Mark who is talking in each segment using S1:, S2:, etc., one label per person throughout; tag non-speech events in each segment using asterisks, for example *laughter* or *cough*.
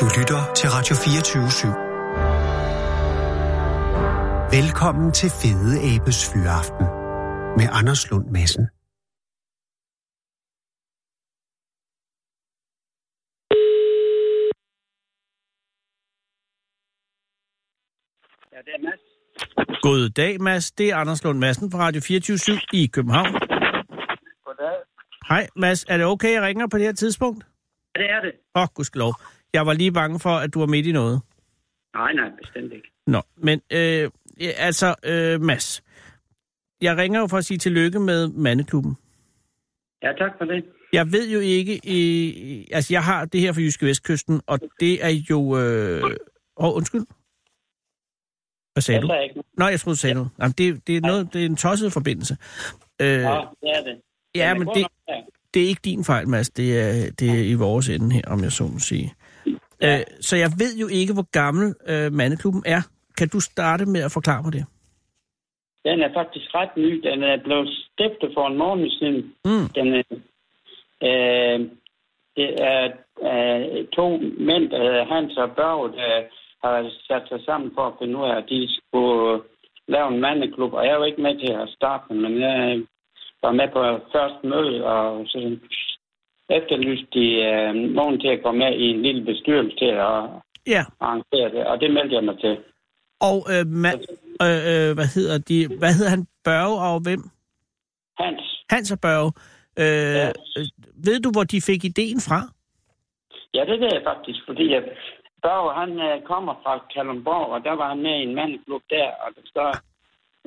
S1: Du lytter til Radio 24 /7. Velkommen til Fede Abes Fyraften med Anders Lund Madsen.
S2: Ja, det er Mads.
S3: God dag, Mads. Det er Anders Lund Madsen fra Radio 24 i København.
S2: Goddag.
S3: Hej, Mads. Er det okay, jeg ringer på det her tidspunkt?
S2: Ja, det er det.
S3: Åh, oh, gudskelov. Jeg var lige bange for, at du var midt i noget.
S2: Nej, nej, bestemt ikke.
S3: Nå, men øh, altså, øh, Mads. Jeg ringer jo for at sige tillykke med mandeklubben.
S2: Ja, tak for det.
S3: Jeg ved jo ikke, øh, altså jeg har det her fra Jyske Vestkysten, og det er jo... Øh, åh, oh, undskyld. Hvad sagde
S2: Jeg
S3: du?
S2: sagde ikke noget.
S3: Nå, jeg troede, du sagde ja. noget. Jamen, det, det, er noget, det er en tosset forbindelse. Øh,
S2: Ja, det er det.
S3: ja,
S2: er
S3: men
S2: god
S3: det,
S2: nok, ja.
S3: det er ikke din fejl, Mads. Det er, det er i vores ende her, om jeg så må sige. Øh, så jeg ved jo ikke, hvor gammel øh, mandeklubben er. Kan du starte med at forklare mig det?
S2: Den er faktisk ret ny. Den er blevet stiftet for en måned siden.
S3: Mm.
S2: Den er, øh, det er øh, to mænd, der hedder Hans og Børge, der har sat sig sammen for at finde ud af, at de skulle lave en mandeklub. Og jeg var ikke med til at starte den, men jeg øh, var med på første møde, og så efterlyste de øh, nogen til at gå med i en lille bestyrelse til at
S3: Ja,
S2: arrangere det, og det meldte jeg mig til.
S3: og øh, ma- øh, øh, hvad hedder de? Hvad hedder han? Børge og hvem?
S2: Hans,
S3: Hans og Børge. Øh,
S2: Ja.
S3: øh, Ved du, hvor de fik ideen fra?
S2: Ja, det ved jeg faktisk, fordi at Børge, han øh, kommer fra Kalundborg, og der var han med i en mandeklub der, og så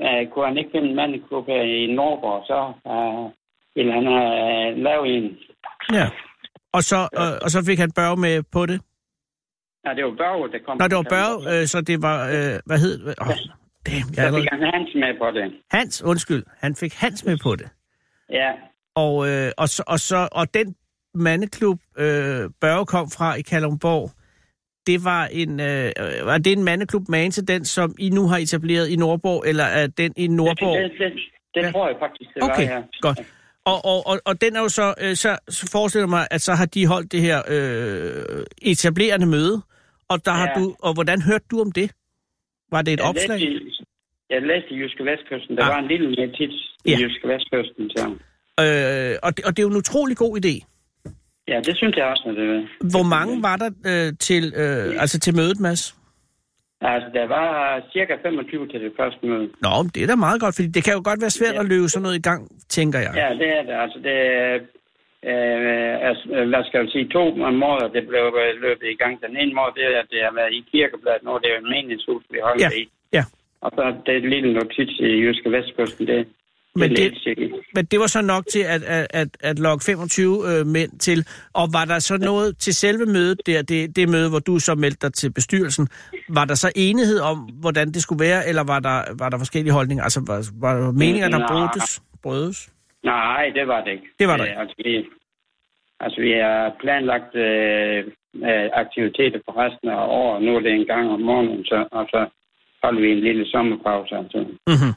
S2: øh, kunne han ikke finde en mandeklub her i Norge, og så øh, ville han øh, lave en.
S3: Ja. Og så, øh, og så fik han Børge med på det?
S2: Nej, det var Børge, der kom.
S3: Nå, det var
S2: fra Kalundborg.
S3: Børge, øh, så det var... Øh, hvad hed... Åh, oh, damn, jeg er
S2: Så
S3: allerede...
S2: fik han Hans med på det.
S3: Hans, undskyld. Han fik Hans med på det.
S2: Ja,
S3: Og, øh, og, så, og, så, og den mandeklub, øh, Børge kom fra i Kalundborg, det var en, øh, var det en mandeklub magen til den, som I nu har etableret i Nordborg, eller er den i
S2: det,
S3: Nordborg?
S2: det, det, det
S3: Ja.
S2: tror jeg faktisk, det var, ja.
S3: Okay, godt. Og, og, og, og den er jo så, øh, så, så forestiller jeg mig, at så har de holdt det her øh, etablerende møde, og der ja. har
S2: Ja.
S3: du, og hvordan hørte du om det? Var det et
S2: Jeg
S3: opslag?
S2: Læste, i- jeg læste i Jyske Vestkysten. Der
S3: Ah.
S2: var en lille mere tit i
S3: Ja.
S2: Jyske Vestkysten. Så.
S3: Øh, og, det, og det er jo en utrolig god idé.
S2: Ja, det synes jeg også, at det var.
S3: Hvor mange var der øh, til, øh, altså til mødet, Mads?
S2: Altså, der var cirka 25 til det første møde.
S3: Nå, men det er da meget godt, fordi det kan jo godt være svært
S2: Ja.
S3: at løbe sådan noget i gang, tænker jeg.
S2: Ja, det er det. Altså, det er, øh, altså, hvad skal jeg sige, to måder, det blev øh, løbet i gang. Den ene måde, det er, at det har været i kirkebladet, nu er det jo en menighed, vi holder
S3: Ja,
S2: i.
S3: ja.
S2: Og så er det er lille notits i Jyske Vestkysten, det,
S3: Men
S2: det,
S3: det-
S2: læste jeg i.
S3: Men det var så nok til at, at, at, at lokke 25 øh, mænd til. Og var der så noget til selve mødet der, det, det møde, hvor du så meldte dig til bestyrelsen, var der så enighed om, hvordan det skulle være, eller var der, var der forskellige holdninger? Altså, var, var der meninger, der
S2: Nej.
S3: brødes? brødes?
S2: Nej, det var det ikke.
S3: Det var det
S2: Øh,
S3: ikke.
S2: Altså, vi, altså, vi har planlagt øh, øh, aktiviteter på resten af året. Nu er det en gang om morgenen, så, og så holder vi en lille sommerpause. Altså.
S3: Mm-hmm.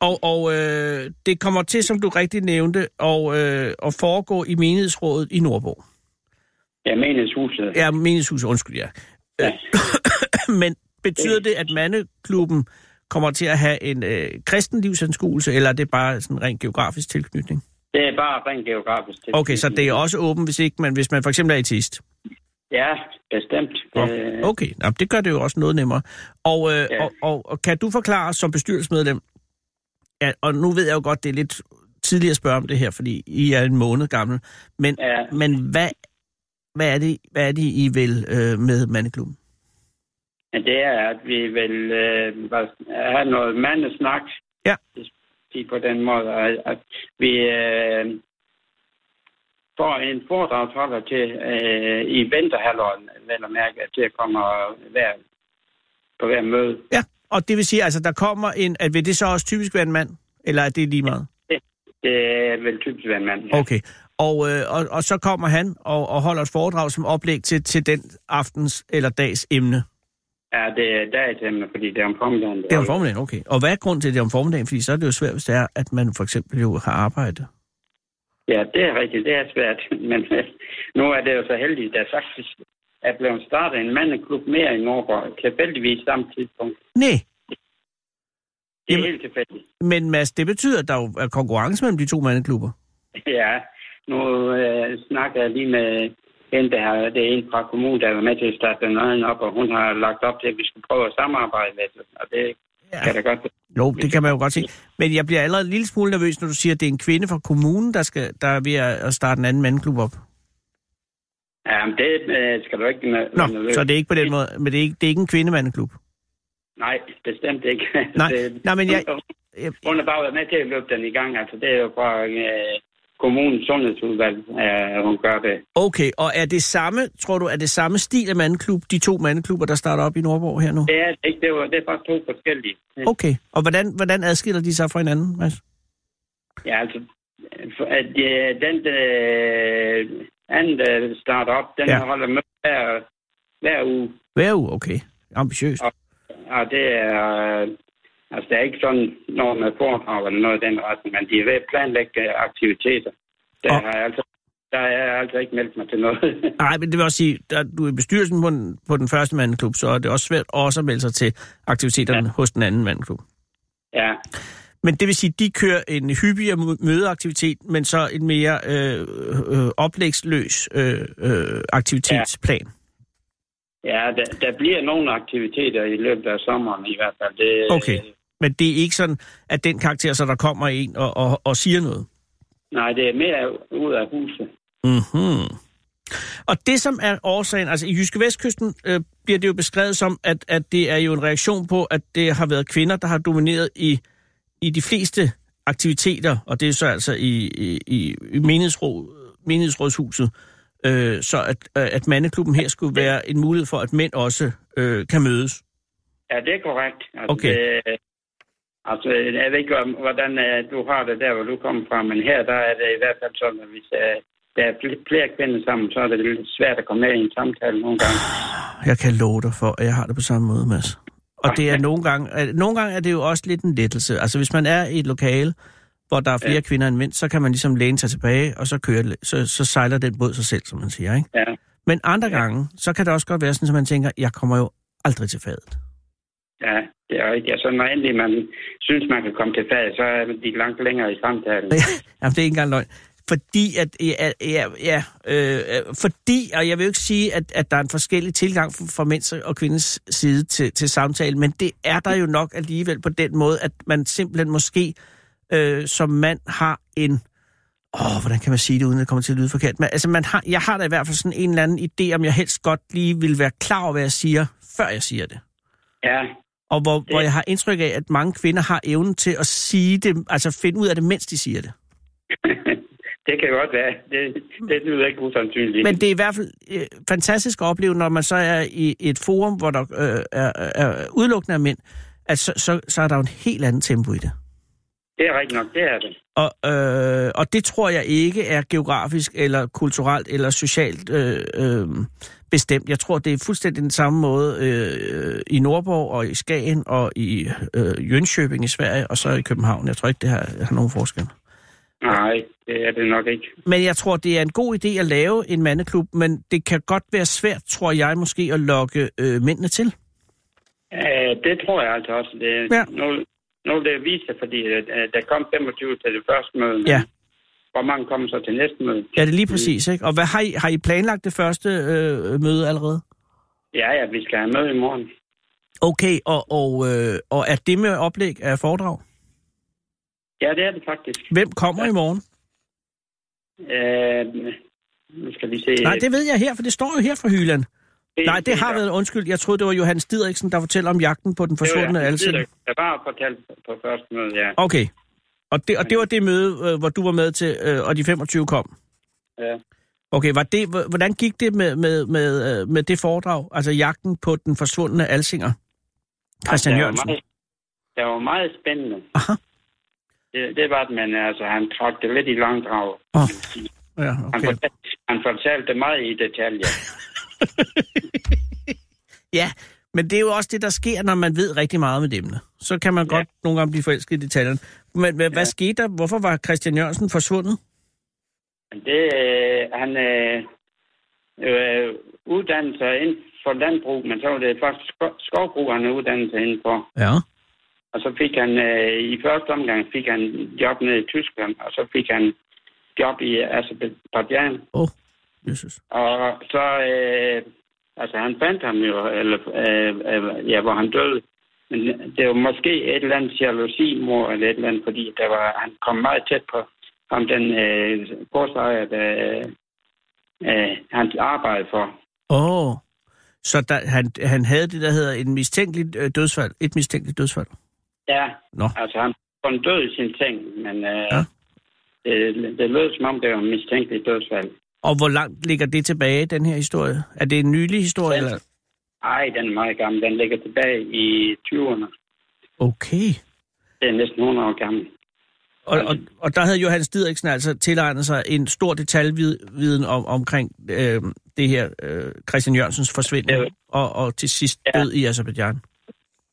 S3: Og, og øh, det kommer til, som du rigtig nævnte, og, øh, at foregå i menighedsrådet i Nordborg.
S2: Jeg mener huset.
S3: Ja, menighedshuset, undskyld, ja. Øh,
S2: Ja.
S3: *coughs* Men betyder det, at mandeklubben kommer til at have en øh, kristen livsanskuelse, eller er det bare sådan rent geografisk tilknytning?
S2: Det er bare rent geografisk. tilknytning.
S3: Okay, så det er også åbent, hvis ikke man, hvis man for eksempel er ateist.
S2: Ja, bestemt. Øh,
S3: Okay, Nå, det gør det jo også noget nemmere. Og, øh,
S2: Ja.
S3: og, og, og kan du forklare os som bestyrelsesmedlem, at, og nu ved jeg jo godt, det er lidt tidligere at spørge om det her, fordi I er en måned gammel, men,
S2: Ja.
S3: men hvad, hvad, er det, hvad er det, I vil øh, med mandeklubben?
S2: Men det er, at vi vil øh, bare have noget mandesnak.
S3: Ja.
S2: Det skal sige på den måde, at- at vi øh, får en foredragsholder til øh, i vinterhalvåret, vel at mærke, til at komme og være på hver møde.
S3: Ja, og det vil sige, altså der kommer en, at vil det så også typisk være en mand, eller er det lige meget?
S2: Det vil typisk være en mand. ja.
S3: Okay, og, øh, og, og så kommer han og, og holder et foredrag som oplæg til, til den aftens eller dags emne.
S2: Ja, det er dagens fordi det er om formiddagen.
S3: Det er om formiddagen, okay. Og hvad er grunden til, at det er om formiddagen? Fordi så er det jo svært, hvis det er, at man for eksempel jo har arbejde.
S2: *laughs* Ja, det er rigtigt. Det er svært. Men nu er det jo så heldigt, at der faktisk er blevet startet en mandeklub mere i Norge, tilfældigvis samme tidspunkt.
S3: Nej,
S2: Det er
S3: Jamen-
S2: helt tilfældigt. *laughs*
S3: men Mads, det betyder, at der jo er konkurrence mellem de to mandeklubber.
S2: Ja, nu øh, snakker jeg lige med hende, der har, det er en fra kommunen, der var med til at starte den anden op, og hun har lagt op til, at vi skulle prøve at samarbejde med det, og det
S3: Ja.
S2: ja. kan da godt
S3: Jo, det kan man jo godt se. Men jeg bliver allerede en lille smule nervøs, når du siger, at det er en kvinde fra kommunen, der, skal, der er ved at at starte en anden mandeklub op.
S2: Ja, men det øh, skal du ikke... være
S3: Nå,
S2: nervøs.
S3: så det er ikke på den måde, men det er ikke, det er ikke en kvindemandeklub.
S2: Nej, bestemt ikke. *laughs*
S3: Nej,
S2: det,
S3: nej,
S2: *laughs*
S3: men jeg- jeg-
S2: Hun har bare været med til at løbe den i gang. Altså, det er jo fra øh, kommunens sundhedsudvalg, øh, hun gør det.
S3: Okay, og er det samme, tror du, er det samme stil af mandeklub, de to mandeklubber, der starter op i Nordborg her nu?
S2: Det er det ikke, det, var, det er faktisk to forskellige.
S3: Okay, og hvordan, hvordan adskiller de sig fra hinanden, Mads?
S2: Ja, altså, øh, for, at, øh, den øh, anden øh, starter op, den
S3: Ja.
S2: ja. holder med hver, hver uge.
S3: Hver uge, okay. Ambitiøst.
S2: Og det er... Øh, altså, det er ikke sådan noget med foredrag eller noget i den retning, men de er ved at planlægge øh, aktiviteter. Der,
S3: Og-
S2: har jeg altså, der er jeg altså ikke meldt mig til noget. *laughs*
S3: Nej, men det vil også sige, at du er i bestyrelsen på den, på den første mandeklub, så er det også svært også at melde sig til aktiviteterne ja. hos den anden mandeklub.
S2: ja.
S3: Men det vil sige, at de kører en hyppigere mø- mødeaktivitet, men så en mere øh, øh, oplægsløs øh, øh, aktivitetsplan.
S2: Ja, der, der bliver nogle aktiviteter i løbet af sommeren i hvert fald. Det,
S3: Okay. Men det er ikke sådan, at den karakter, så der kommer en og, og, og siger noget.
S2: Nej, det er mere ud af huset.
S3: Mm-hmm. Og det, som er årsagen, altså i Jyske Vestkysten øh, bliver det jo beskrevet som, at, at det er jo en reaktion på, at det har været kvinder, der har domineret i, i de fleste aktiviteter, og det er så altså i, i, i- i menighedsråd, menighedsrådshuset, øh, så at, at mandeklubben her skulle være en mulighed for, at mænd også øh, kan mødes.
S2: Ja, det er korrekt. Altså,
S3: Okay.
S2: Det, altså, jeg ved ikke, om, hvordan øh, du har det der, hvor du kommer fra, men her der er det i hvert fald sådan, at hvis øh, der er fl- flere kvinder sammen, så er det lidt svært at komme med i en samtale nogle gange.
S3: Jeg kan love dig for, at jeg har det på samme måde, Mads. Og det er nogle gange, at- nogle gange er det jo også lidt en lettelse. Altså hvis man er i et lokale, hvor der er flere ja.
S2: Ja.
S3: kvinder end mænd, så kan man ligesom læne sig tilbage, og så, kører, det- så, så sejler den båd sig selv, som man siger. Ikke?
S2: Ja.
S3: Men andre
S2: Ja.
S3: gange, så kan det også godt være sådan, at man tænker, jeg kommer jo aldrig til fadet.
S2: Ja, det er rigtigt. Altså, når endelig man synes, man kan komme til fag, så er de langt længere i
S3: *laughs*
S2: samtalen.
S3: Jamen, det er ikke engang løgn. Fordi, at, ja, ja, ja, øh, øh, fordi, og jeg vil jo ikke sige, at, at der er en forskellig tilgang fra, fra mænds og kvindes side til, til samtalen, men det er der jo nok alligevel på den måde, at man simpelthen måske øh, som mand har en... Åh, hvordan kan man sige det, uden at det kommer til at lyde forkert? Men, altså, man har, jeg har da i hvert fald sådan en eller anden idé, om jeg helst godt lige vil være klar over, hvad jeg siger, før jeg siger det.
S2: Ja,
S3: Og hvor, hvor jeg har indtryk af, at mange kvinder har evnen til at sige det, altså finde ud af det, mens de siger det.
S2: det kan godt være. Det, det lyder ikke usandsynligt.
S3: Men det er i hvert fald øh, fantastisk at opleve, når man så er i et forum, hvor der øh, er, er udelukkende af mænd, at så, så, så er der jo en helt anden tempo i det.
S2: Det er rigtigt nok, det er det.
S3: Og, øh, og det tror jeg ikke er geografisk eller kulturelt eller socialt øh, øh, bestemt. Jeg tror, det er fuldstændig den samme måde øh, i Nordborg og i Skagen og i øh, Jönköping i Sverige og så i København. Jeg tror ikke, det har, har nogen forskel.
S2: Nej, det er det nok ikke.
S3: Men jeg tror, det er en god idé at lave en mandeklub, men det kan godt være svært, tror jeg måske, at lokke øh, mændene til.
S2: Øh, det tror jeg altså også. Det,
S3: Ja.
S2: ja. nu, nu vil det vise sig, fordi at, at der kom 25 til det første møde. men
S3: Ja.
S2: Hvor mange kommer så til næste møde?
S3: Ja, det er lige præcis, ikke? Og hvad har I, har I planlagt det første øh, møde allerede?
S2: Ja, ja, vi skal have møde i morgen.
S3: Okay, og, og, øh, og er det med oplæg af foredrag?
S2: Ja, det er det faktisk.
S3: Hvem kommer ja.
S2: Ja.
S3: i morgen?
S2: Øh, nu skal vi se.
S3: Nej, det ved jeg her, for det står jo her fra Hyland.
S2: det,
S3: Nej, det har været undskyld. Jeg troede, det var Johannes Didriksen, der fortæller om jagten på den forsvundne
S2: altså.
S3: alsen.
S2: Jeg bare fortalt på første møde, ja.
S3: Okay. Og det, og det var det møde, øh, hvor du var med til, øh, og de 25 kom.
S2: ja.
S3: Okay, var det, h- hvordan gik det med, med, med, øh, med det foredrag, altså jagten på den forsvundne Alsinger? Christian
S2: Det var
S3: Jørgensen.
S2: meget- Det var meget spændende.
S3: Aha.
S2: Det, det var det, men altså, han trak det lidt i langdrag.
S3: Åh,
S2: kan man sige.
S3: Ja,
S2: Han,
S3: okay.
S2: fortalte, han fortalte det meget i detaljer.
S3: ja, men det er jo også det, der sker, når man ved rigtig meget med emne. Så kan man
S2: Ja.
S3: godt nogle gange blive forelsket i detaljerne. Men hvad, hvad skete der? Hvorfor var Christian Jørgensen forsvundet?
S2: Men Det, øh, han øh, øh, uddannelser inden for landbrug, men så var det faktisk sko- skovbrug, han uddannede sig inden for.
S3: Ja.
S2: Og så fik han, øh, i første omgang fik han job nede i Tyskland, og så fik han job i Azerbaijan.
S3: Åh, oh, Jesus.
S2: Og så, øh, altså han fandt ham jo, eller, øh, øh, ja, hvor han døde. Men det var måske et eller andet jalousi, mor, eller et eller andet, fordi der var, han kom meget tæt på ham, den øh, godsejer, der øh, øh, han arbejdede for.
S3: Åh. Oh. Så der, han, han havde det, der hedder en mistænkelig øh, dødsfald. Et mistænkeligt dødsfald.
S2: Ja,
S3: Nå.
S2: altså han kom død i sin ting, men øh,
S3: Ja.
S2: ja. det, det lød som om, det var en mistænkelig dødsfald.
S3: Og hvor langt ligger det tilbage, den her historie? Er det en nylig historie?
S2: Ja.
S3: Eller?
S2: Ej, den er meget gammel. Den ligger tilbage i 20'erne.
S3: Okay.
S2: Det er næsten 100 år gammel.
S3: Og, og, og der havde Johannes Didriksen altså tilegnet sig en stor detaljviden om, omkring øh, det her øh, Christian Jørgensens forsvinden
S2: Ja.
S3: og, og til sidst
S2: Ja.
S3: død i Azerbaijan.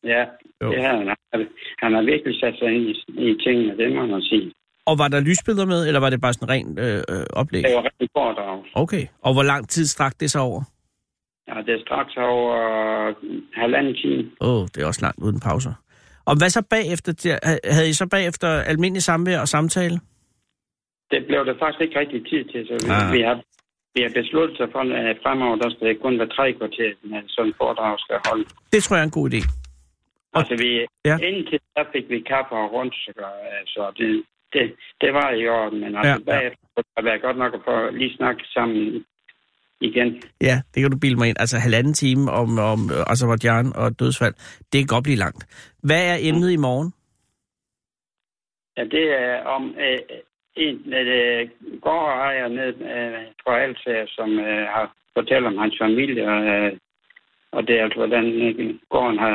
S2: Ja,
S3: Jo.
S2: jo. det har han. Han har virkelig sat sig ind i, i tingene, det må man sige.
S3: Og var der lysbilleder med, eller var det bare sådan rent øh, øh, oplæg?
S2: Det var rigtig foredrag.
S3: Okay. Og hvor lang tid strakte det sig over?
S2: Ja, det er straks over øh, halvanden time.
S3: Åh, oh, det er også langt uden pauser. Og hvad så bagefter? Der- ha- Havde I så bagefter almindelig samvær og samtale?
S2: Det blev der faktisk ikke rigtig tid til, så vi,
S3: Ah.
S2: ah. vi har vi har besluttet sig for, at fremover, der skal det kun være tre kvarter, men sådan en foredrag skal holde.
S3: Det tror jeg er en god idé. Og-
S2: Altså, vi,
S3: Ja.
S2: ja. indtil der fik vi kaffe og rundt, så det, det, det var i orden, men altså,
S3: Ja,
S2: ja,
S3: ja.
S2: bagefter ja. var det godt nok at få lige snakke sammen igen.
S3: Ja, det kan du bilde mig ind. Altså halvanden time om, om øh, Azerbaijan og dødsfald. Det kan godt blive langt. Hvad er emnet i morgen?
S2: Ja, det er om øh, en øh, gårdejer ned øh, fra Altager, som øh, har fortalt om hans familie, og, øh, og det er altså, hvordan øh, gården har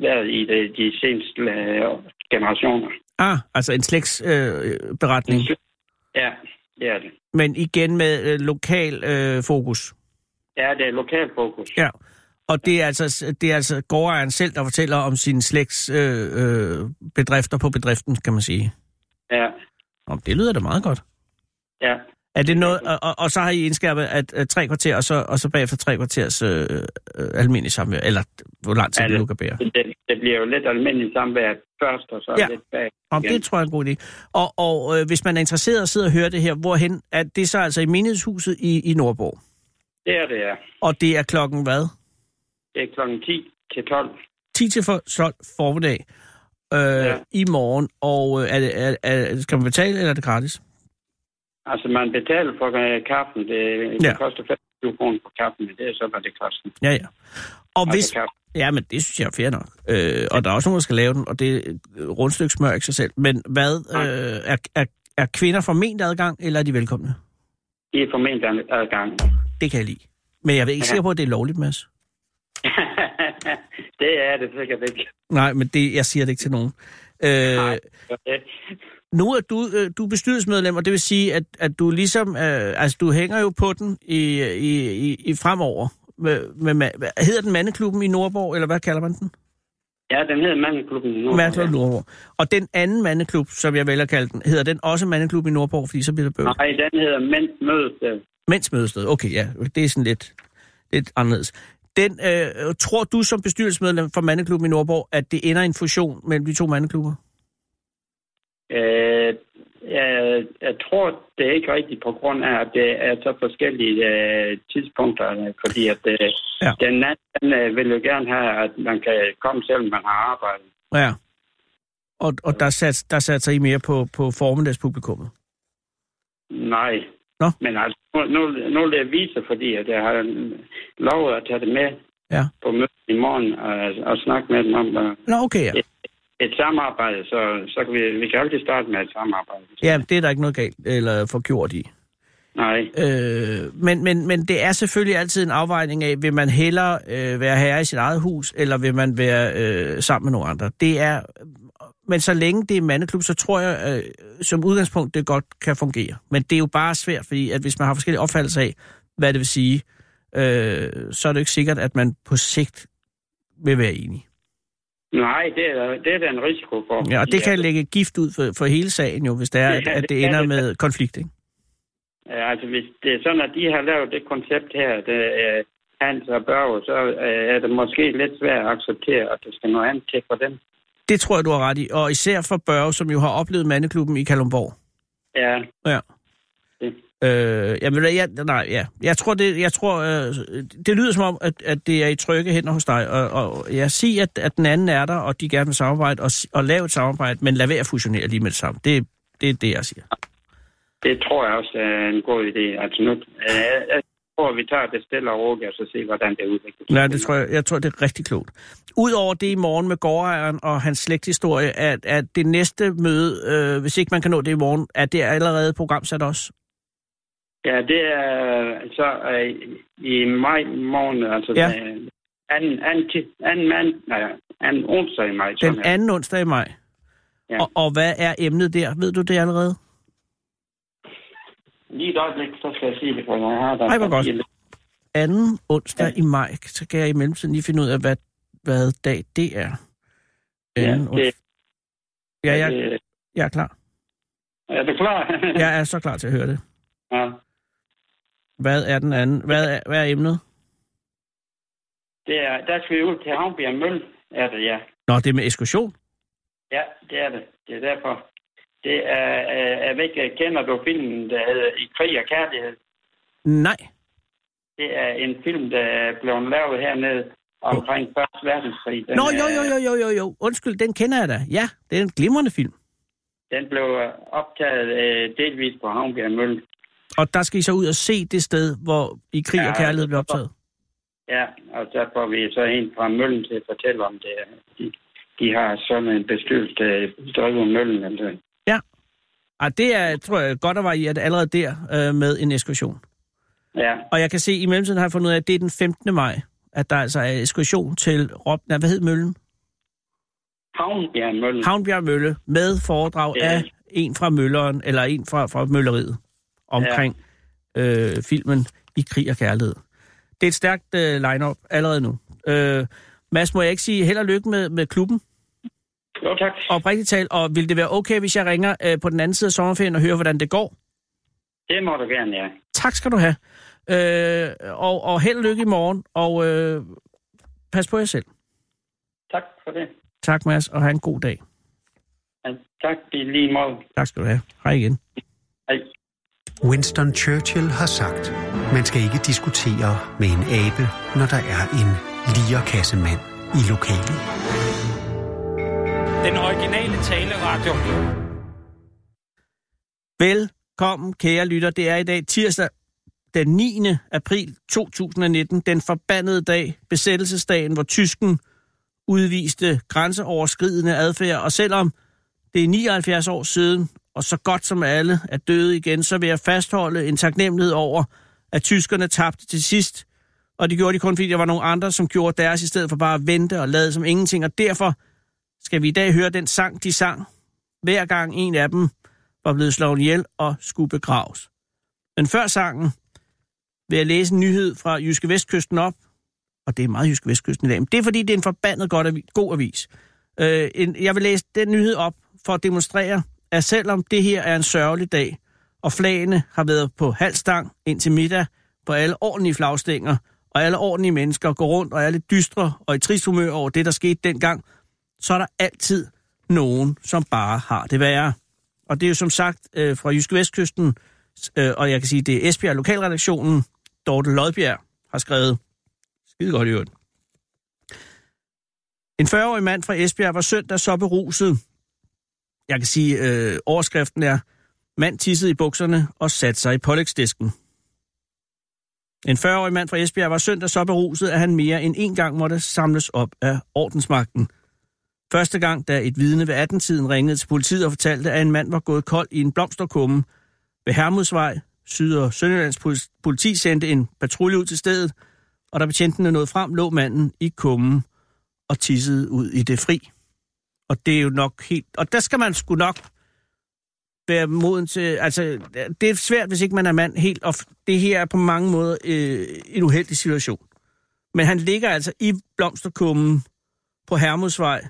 S2: været i det, de seneste øh, generationer.
S3: Ah, altså en slægtsberetning, øh, beretning.
S2: Ja, det er det.
S3: men igen med øh, lokal øh, fokus.
S2: Ja, det er lokal fokus.
S3: Ja. Og det er altså, det er altså gårdejeren selv, der fortæller om sine slægts øh, øh, bedrifter på bedriften, kan man sige.
S2: Ja,
S3: Om det lyder da meget godt.
S2: ja.
S3: Er det noget, og, og, og så har I indskærpet, at, at tre kvarter, og så, og så bagefter tre kvarters øh, øh, almindelig samvær, eller hvor lang tid det
S2: Ja,
S3: nu kan bære.
S2: Det, det bliver jo lidt almindeligt samvær først, og så
S3: Ja.
S2: ja. lidt bag.
S3: Om det tror jeg er en god idé. Og, og øh, hvis man er interesseret og sidder og hører det her, hvorhen er det så altså i menighedshuset i, i Nordborg?
S2: Det er det, ja.
S3: Og det er klokken hvad?
S2: Det er klokken 10 til 12.
S3: 10 til for- 12 formiddag øh, ja.
S2: Ja.
S3: i morgen, og øh, er det, er, er, skal man betale, eller er det gratis?
S2: Altså, man betaler for øh, kaffen. Det, det
S3: Ja.
S2: koster 25 kroner på kaffen, men det er så, hvad det koster.
S3: Ja, ja. Og hvis,
S2: Altså, kaffen.
S3: ja, men det synes jeg er fair nok. Øh, og der er også nogen, der skal lave den, og det øh, rundstykke smør ikke sig selv. Men hvad,
S2: Nej.
S3: øh, er, er, er kvinder forment adgang, eller er de velkomne?
S2: I er formentlig ad- adgang. *laughs*
S3: Det kan jeg lide. Men jeg er ikke
S2: Ja.
S3: sikker på, at det er lovligt, Mads.
S2: det er det sikkert ikke. *laughs*
S3: Nej, men det, jeg siger det ikke til nogen. Øh,
S2: Nej. Det-
S3: nu er du, øh, du er bestyrelsesmedlem, og det vil sige, at, at du ligesom, øh, altså du hænger jo på den i, i, i, i fremover. Med, med, med, hvad- hedder den Mandeklubben i Nordborg, eller hvad kalder man den?
S2: Ja, den hedder Mandeklubben nu.
S3: Mandeklubben i Nordborg. Og den anden mandeklub, som jeg vælger at kalde den, hedder den også Mandeklubben i Nordborg, fordi så bliver det bøvl.
S2: Nej, den hedder Mænd Mødes. øh.
S3: Mænds mødested, okay, ja, det er sådan lidt, lidt anderledes. Den, øh, tror du som bestyrelsesmedlem for Mandeklubben i Nordborg, at det ender i en fusion mellem de to mandeklubber?
S2: Øh, jeg, jeg tror, det er ikke rigtigt på grund af, at det er så forskellige øh, tidspunkter, øh, fordi at øh,
S3: Ja.
S2: ja. den anden øh, vil jo gerne have, at man kan komme, selvom man har arbejdet.
S3: Ja. Og, og der satte der sat sig I mere på, på formiddagspublikummet?
S2: Nej.
S3: Nå.
S2: Men altså, nu, nu, nu vil jeg vise, fordi at jeg har lovet at tage det med
S3: Ja.
S2: på mødet i morgen og, og snakke med dem om øh,
S3: Nå, okay, ja.
S2: et samarbejde, så, så kan vi, vi kan altid starte med et samarbejde.
S3: Ja, det er der ikke noget galt eller forgjort i.
S2: Nej,
S3: Øh, men, men, men det er selvfølgelig altid en afvejning af, vil man hellere øh, være herre i sit eget hus, eller vil man være øh, sammen med nogle andre. Det er, men så længe det er en mandeklub, så tror jeg øh, som udgangspunkt, det godt kan fungere. Men det er jo bare svært, fordi at hvis man har forskellige opfattelser af, hvad det vil sige, øh, så er det jo ikke sikkert, at man på sigt vil være enige.
S2: nej det, er, det er der en risiko for.
S3: Ja, og det kan
S2: Ja.
S3: lægge gift ud for, for hele sagen jo, hvis det er, at, at det ender med konflikt, ikke?
S2: Ja, Altså, hvis det er sådan, at de har lavet det koncept her, det, øh, Hans og Børge, så øh, er det måske lidt svært at acceptere, at der skal noget andet til for dem.
S3: Det tror jeg, du har ret i. Og især for Børge, som jo har oplevet mandeklubben i Kalumborg.
S2: Ja,
S3: Ja.
S2: Det.
S3: Øh, jamen, ved du hvad, jeg, nej, ja. Jeg tror, det, jeg tror øh, det lyder som om, at, at det er i trygge hænder hos dig. Og, og jeg siger, at, at den anden er der, og de gerne vil samarbejde og, s- og lave et samarbejde, men lad være at fusionere lige med det samme. Det, det er det, jeg siger.
S2: det tror jeg også er en god idé. Altså nu, øh, jeg tror, vi tager det stille og roligt, og så se, hvordan det udvikler sig.
S3: Nej, det tror jeg, jeg tror, det er rigtig klogt. Udover det i morgen med gårdejeren og hans slægthistorie, at, at det næste møde, øh, hvis ikke man kan nå det i morgen, at det er allerede programsat også.
S2: Ja, det er så øh, i maj måned, altså
S3: Ja.
S2: ja. den anden, anden, ti- anden, mand, nej, anden onsdag i maj.
S3: Den
S2: sådan her.
S3: anden onsdag i maj.
S2: Ja.
S3: Og, og hvad er emnet der? Ved du det allerede?
S2: Lige et øjeblik, så skal jeg sige det, for jeg har der.
S3: Ej, hvor godt.
S2: papir.
S3: Anden onsdag
S2: Ja.
S3: i maj, så kan jeg i mellemtiden lige finde ud af, hvad, hvad dag det er.
S2: Ja,
S3: Anden
S2: det,
S3: ons- ja jeg,
S2: det,
S3: jeg er klar.
S2: er du
S3: *laughs*
S2: klar?
S3: Jeg er så klar til at høre det.
S2: ja.
S3: Hvad er den anden? Hvad er, hvad er emnet?
S2: Det er, der skal vi ud til Havnbjerg Mølle, er det, ja.
S3: Nå, det er med ekskursion.
S2: Ja, det er det. Det er derfor. Det er, øh, jeg ved ikke, kender du filmen, der hedder I krig og kærlighed?
S3: Nej.
S2: Det er en film, der blev lavet hernede omkring Første Verdenskrig. Den,
S3: Nå, jo,
S2: er-
S3: jo, jo, jo, jo, jo. Undskyld, den kender jeg da. Ja, det er en glimrende film.
S2: øh, Den blev optaget øh, delvis på Havnbjerg Mølle.
S3: Og der skal I så ud og se det sted, hvor I krig
S2: Ja,
S3: og kærlighed blev optaget.
S2: Ja, og så får vi så en fra Møllen til at fortælle om det. De, de har sådan en bestyrelse, der driver Møllen. Altså.
S3: Ej, det er, tror jeg, godt at være i, at allerede der øh, med en ekskursion.
S2: Ja,
S3: Og jeg kan se, i mellemtiden har jeg fundet ud af, at det er den 15. maj, at der altså er ekskursion til Rob, nej, hvad hed Møllen?
S2: Havnbjerg Møllen.
S3: Havnbjerg Mølle med foredrag
S2: Ja.
S3: af en fra Mølleren, eller en fra, fra Mølleriet, omkring øh, filmen I krig og kærlighed. Det er et stærkt øh, line-up allerede nu. Øh, Mads, må jeg ikke sige held og lykke med, med klubben?
S2: Jo, tak.
S3: oprigtigt talt, og vil det være okay, hvis jeg ringer øh, på den anden side af sommerferien og hører, hvordan det går?
S2: Det må du gerne, ja.
S3: Tak skal du have. Øh, og, og held og lykke i morgen, og øh, pas på jer selv.
S2: Tak for det.
S3: Tak, Mads, og have en god dag.
S2: Ja, tak i lige måde.
S3: Tak skal du have. Hej igen.
S2: Hej.
S1: Winston Churchill har sagt, man skal ikke diskutere med en abe, når der er en lierkassemand i lokalet.
S4: Den originale taleradio.
S3: Velkommen, kære lytter. Det er i dag tirsdag den 9. april 2019, den forbandede dag, besættelsesdagen, hvor tysken udviste grænseoverskridende adfærd. Og selvom det er 79 år siden, og så godt som alle er døde igen, så vil jeg fastholde en taknemmelighed over, at tyskerne tabte til sidst. Og det gjorde de kun, fordi der var nogle andre, som gjorde deres, i stedet for bare at vente og lade som ingenting. Og derfor skal vi i dag høre den sang, de sang, hver gang en af dem var blevet slået ihjel og skulle begraves. Men før sangen vil jeg læse en nyhed fra Jyske Vestkysten op, og det er meget Jyske Vestkysten i dag, men det er fordi, det er en forbandet godt avi- god avis. Øh, en, jeg vil læse den nyhed op for at demonstrere, at selvom det her er en sørgelig dag, og flagene har været på halvstang indtil middag på alle ordentlige flagstænger, og alle ordentlige mennesker går rundt og er lidt dystre og i trist humør over det, der skete dengang, så er der altid nogen, som bare har det værre. Og det er jo som sagt øh, fra Jyske Vestkysten, øh, og jeg kan sige, det er Esbjerg Lokalredaktionen, Dorte Lodbjerg har skrevet, skide godt i øvrigt. En 40-årig mand fra Esbjerg var søndag så beruset. Jeg kan sige, øh, overskriften er, mand tissede i bukserne og satte sig i pålægsdisken. En 40-årig mand fra Esbjerg var søndag så beruset, at han mere end en gang måtte samles op af ordensmagten. Første gang, da et vidne ved 18-tiden ringede til politiet og fortalte, at en mand var gået kold i en blomsterkumme ved Hermodsvej, Syd- og Sønderjyllands poli- politi sendte en patrulje ud til stedet, og da betjentene nåede frem, lå manden i kummen og tissede ud i det fri. Og det er jo nok helt... Og der skal man sgu nok være moden til... Altså, det er svært, hvis ikke man er mand helt... Og f- det her er på mange måder øh, en uheldig situation. Men han ligger altså i blomsterkummen på Hermodsvej,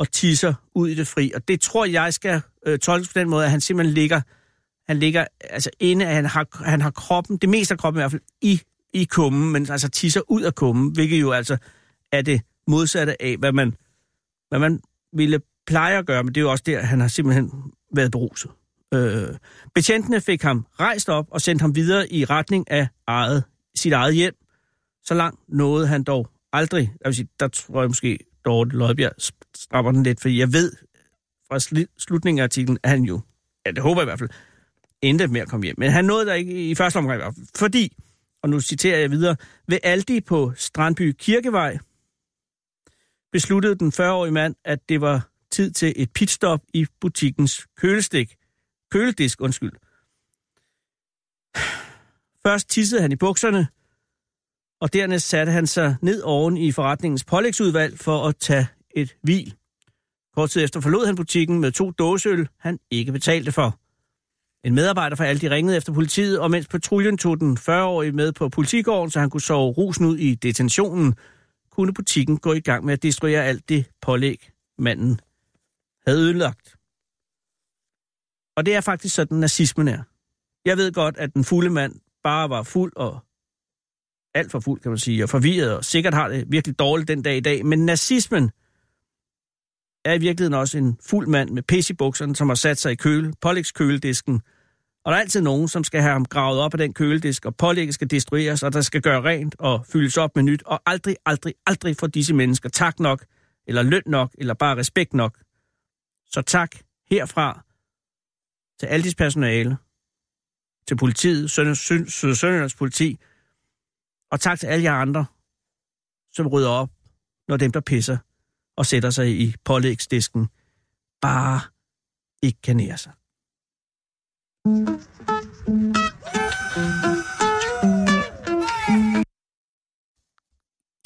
S3: og tisser ud i det fri. Og det tror jeg skal øh, tolkes på den måde, at han simpelthen ligger, han ligger altså inde, at han har, han har kroppen, det meste af kroppen i hvert fald, i i kummen, men altså tisser ud af kummen, hvilket jo altså er det modsatte af, hvad man, hvad man ville pleje at gøre, men det er jo også der, han har simpelthen været beruset. Øh, betjentene fik ham rejst op og sendt ham videre i retning af eget, sit eget hjem. Så langt nåede han dog aldrig. Jeg vil sige, der tror jeg måske, Dorte Løjbjerg strammer den lidt, fordi jeg ved fra sli- slutningen af artiklen, at han jo, ja det håber jeg i hvert fald, endte med at komme hjem. Men han nåede der ikke i første omgang i hvert fald, fordi, og nu citerer jeg videre, ved Aldi på Strandby Kirkevej besluttede den 40-årige mand, at det var tid til et pitstop i butikkens kølestik. køledisk. Undskyld. Først tissede han i bukserne, og dernæst satte han sig ned oven i forretningens pålægsudvalg for at tage et hvil. Kort tid efter forlod han butikken med to dåseøl, han ikke betalte for. En medarbejder fra Aldi ringede efter politiet, og mens patruljen tog den 40-årige med på politigården, så han kunne sove rusen ud i detentionen, kunne butikken gå i gang med at destruere alt det pålæg, manden havde ødelagt. Og det er faktisk sådan, nazismen er. Jeg ved godt, at den fulde mand bare var fuld og alt for fuld, kan man sige, og forvirret, og sikkert har det virkelig dårligt den dag i dag, men nazismen er i virkeligheden også en fuld mand med pis i bukserne, som har sat sig i køle, Pollex køledisken, og der er altid nogen, som skal have ham gravet op af den køledisk, og pålægget skal destrueres, og der skal gøre rent og fyldes op med nyt, og aldrig, aldrig, aldrig får disse mennesker tak nok, eller løn nok, eller bare respekt nok. Så tak herfra til Aldis personale, til politiet, Sønder- Syd- Syd- Sønderjyllands politi, og tak til alle jer andre, som rydder op, når dem, der pisser og sætter sig i pålægsdisken, bare ikke kan nære sig.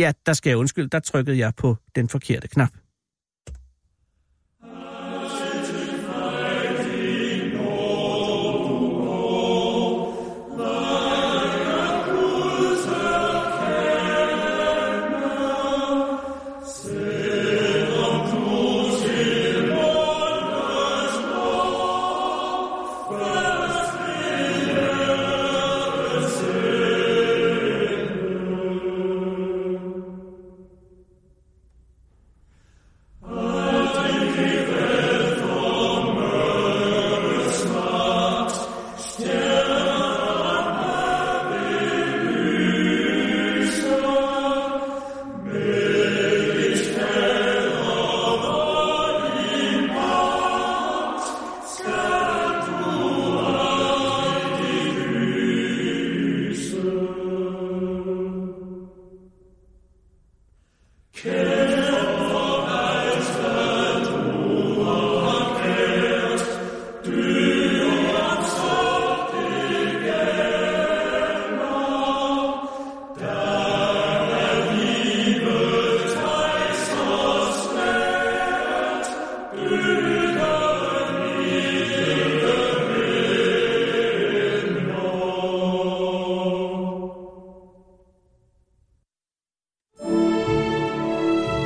S3: Ja, der skal jeg undskylde, der trykkede jeg på den forkerte knap.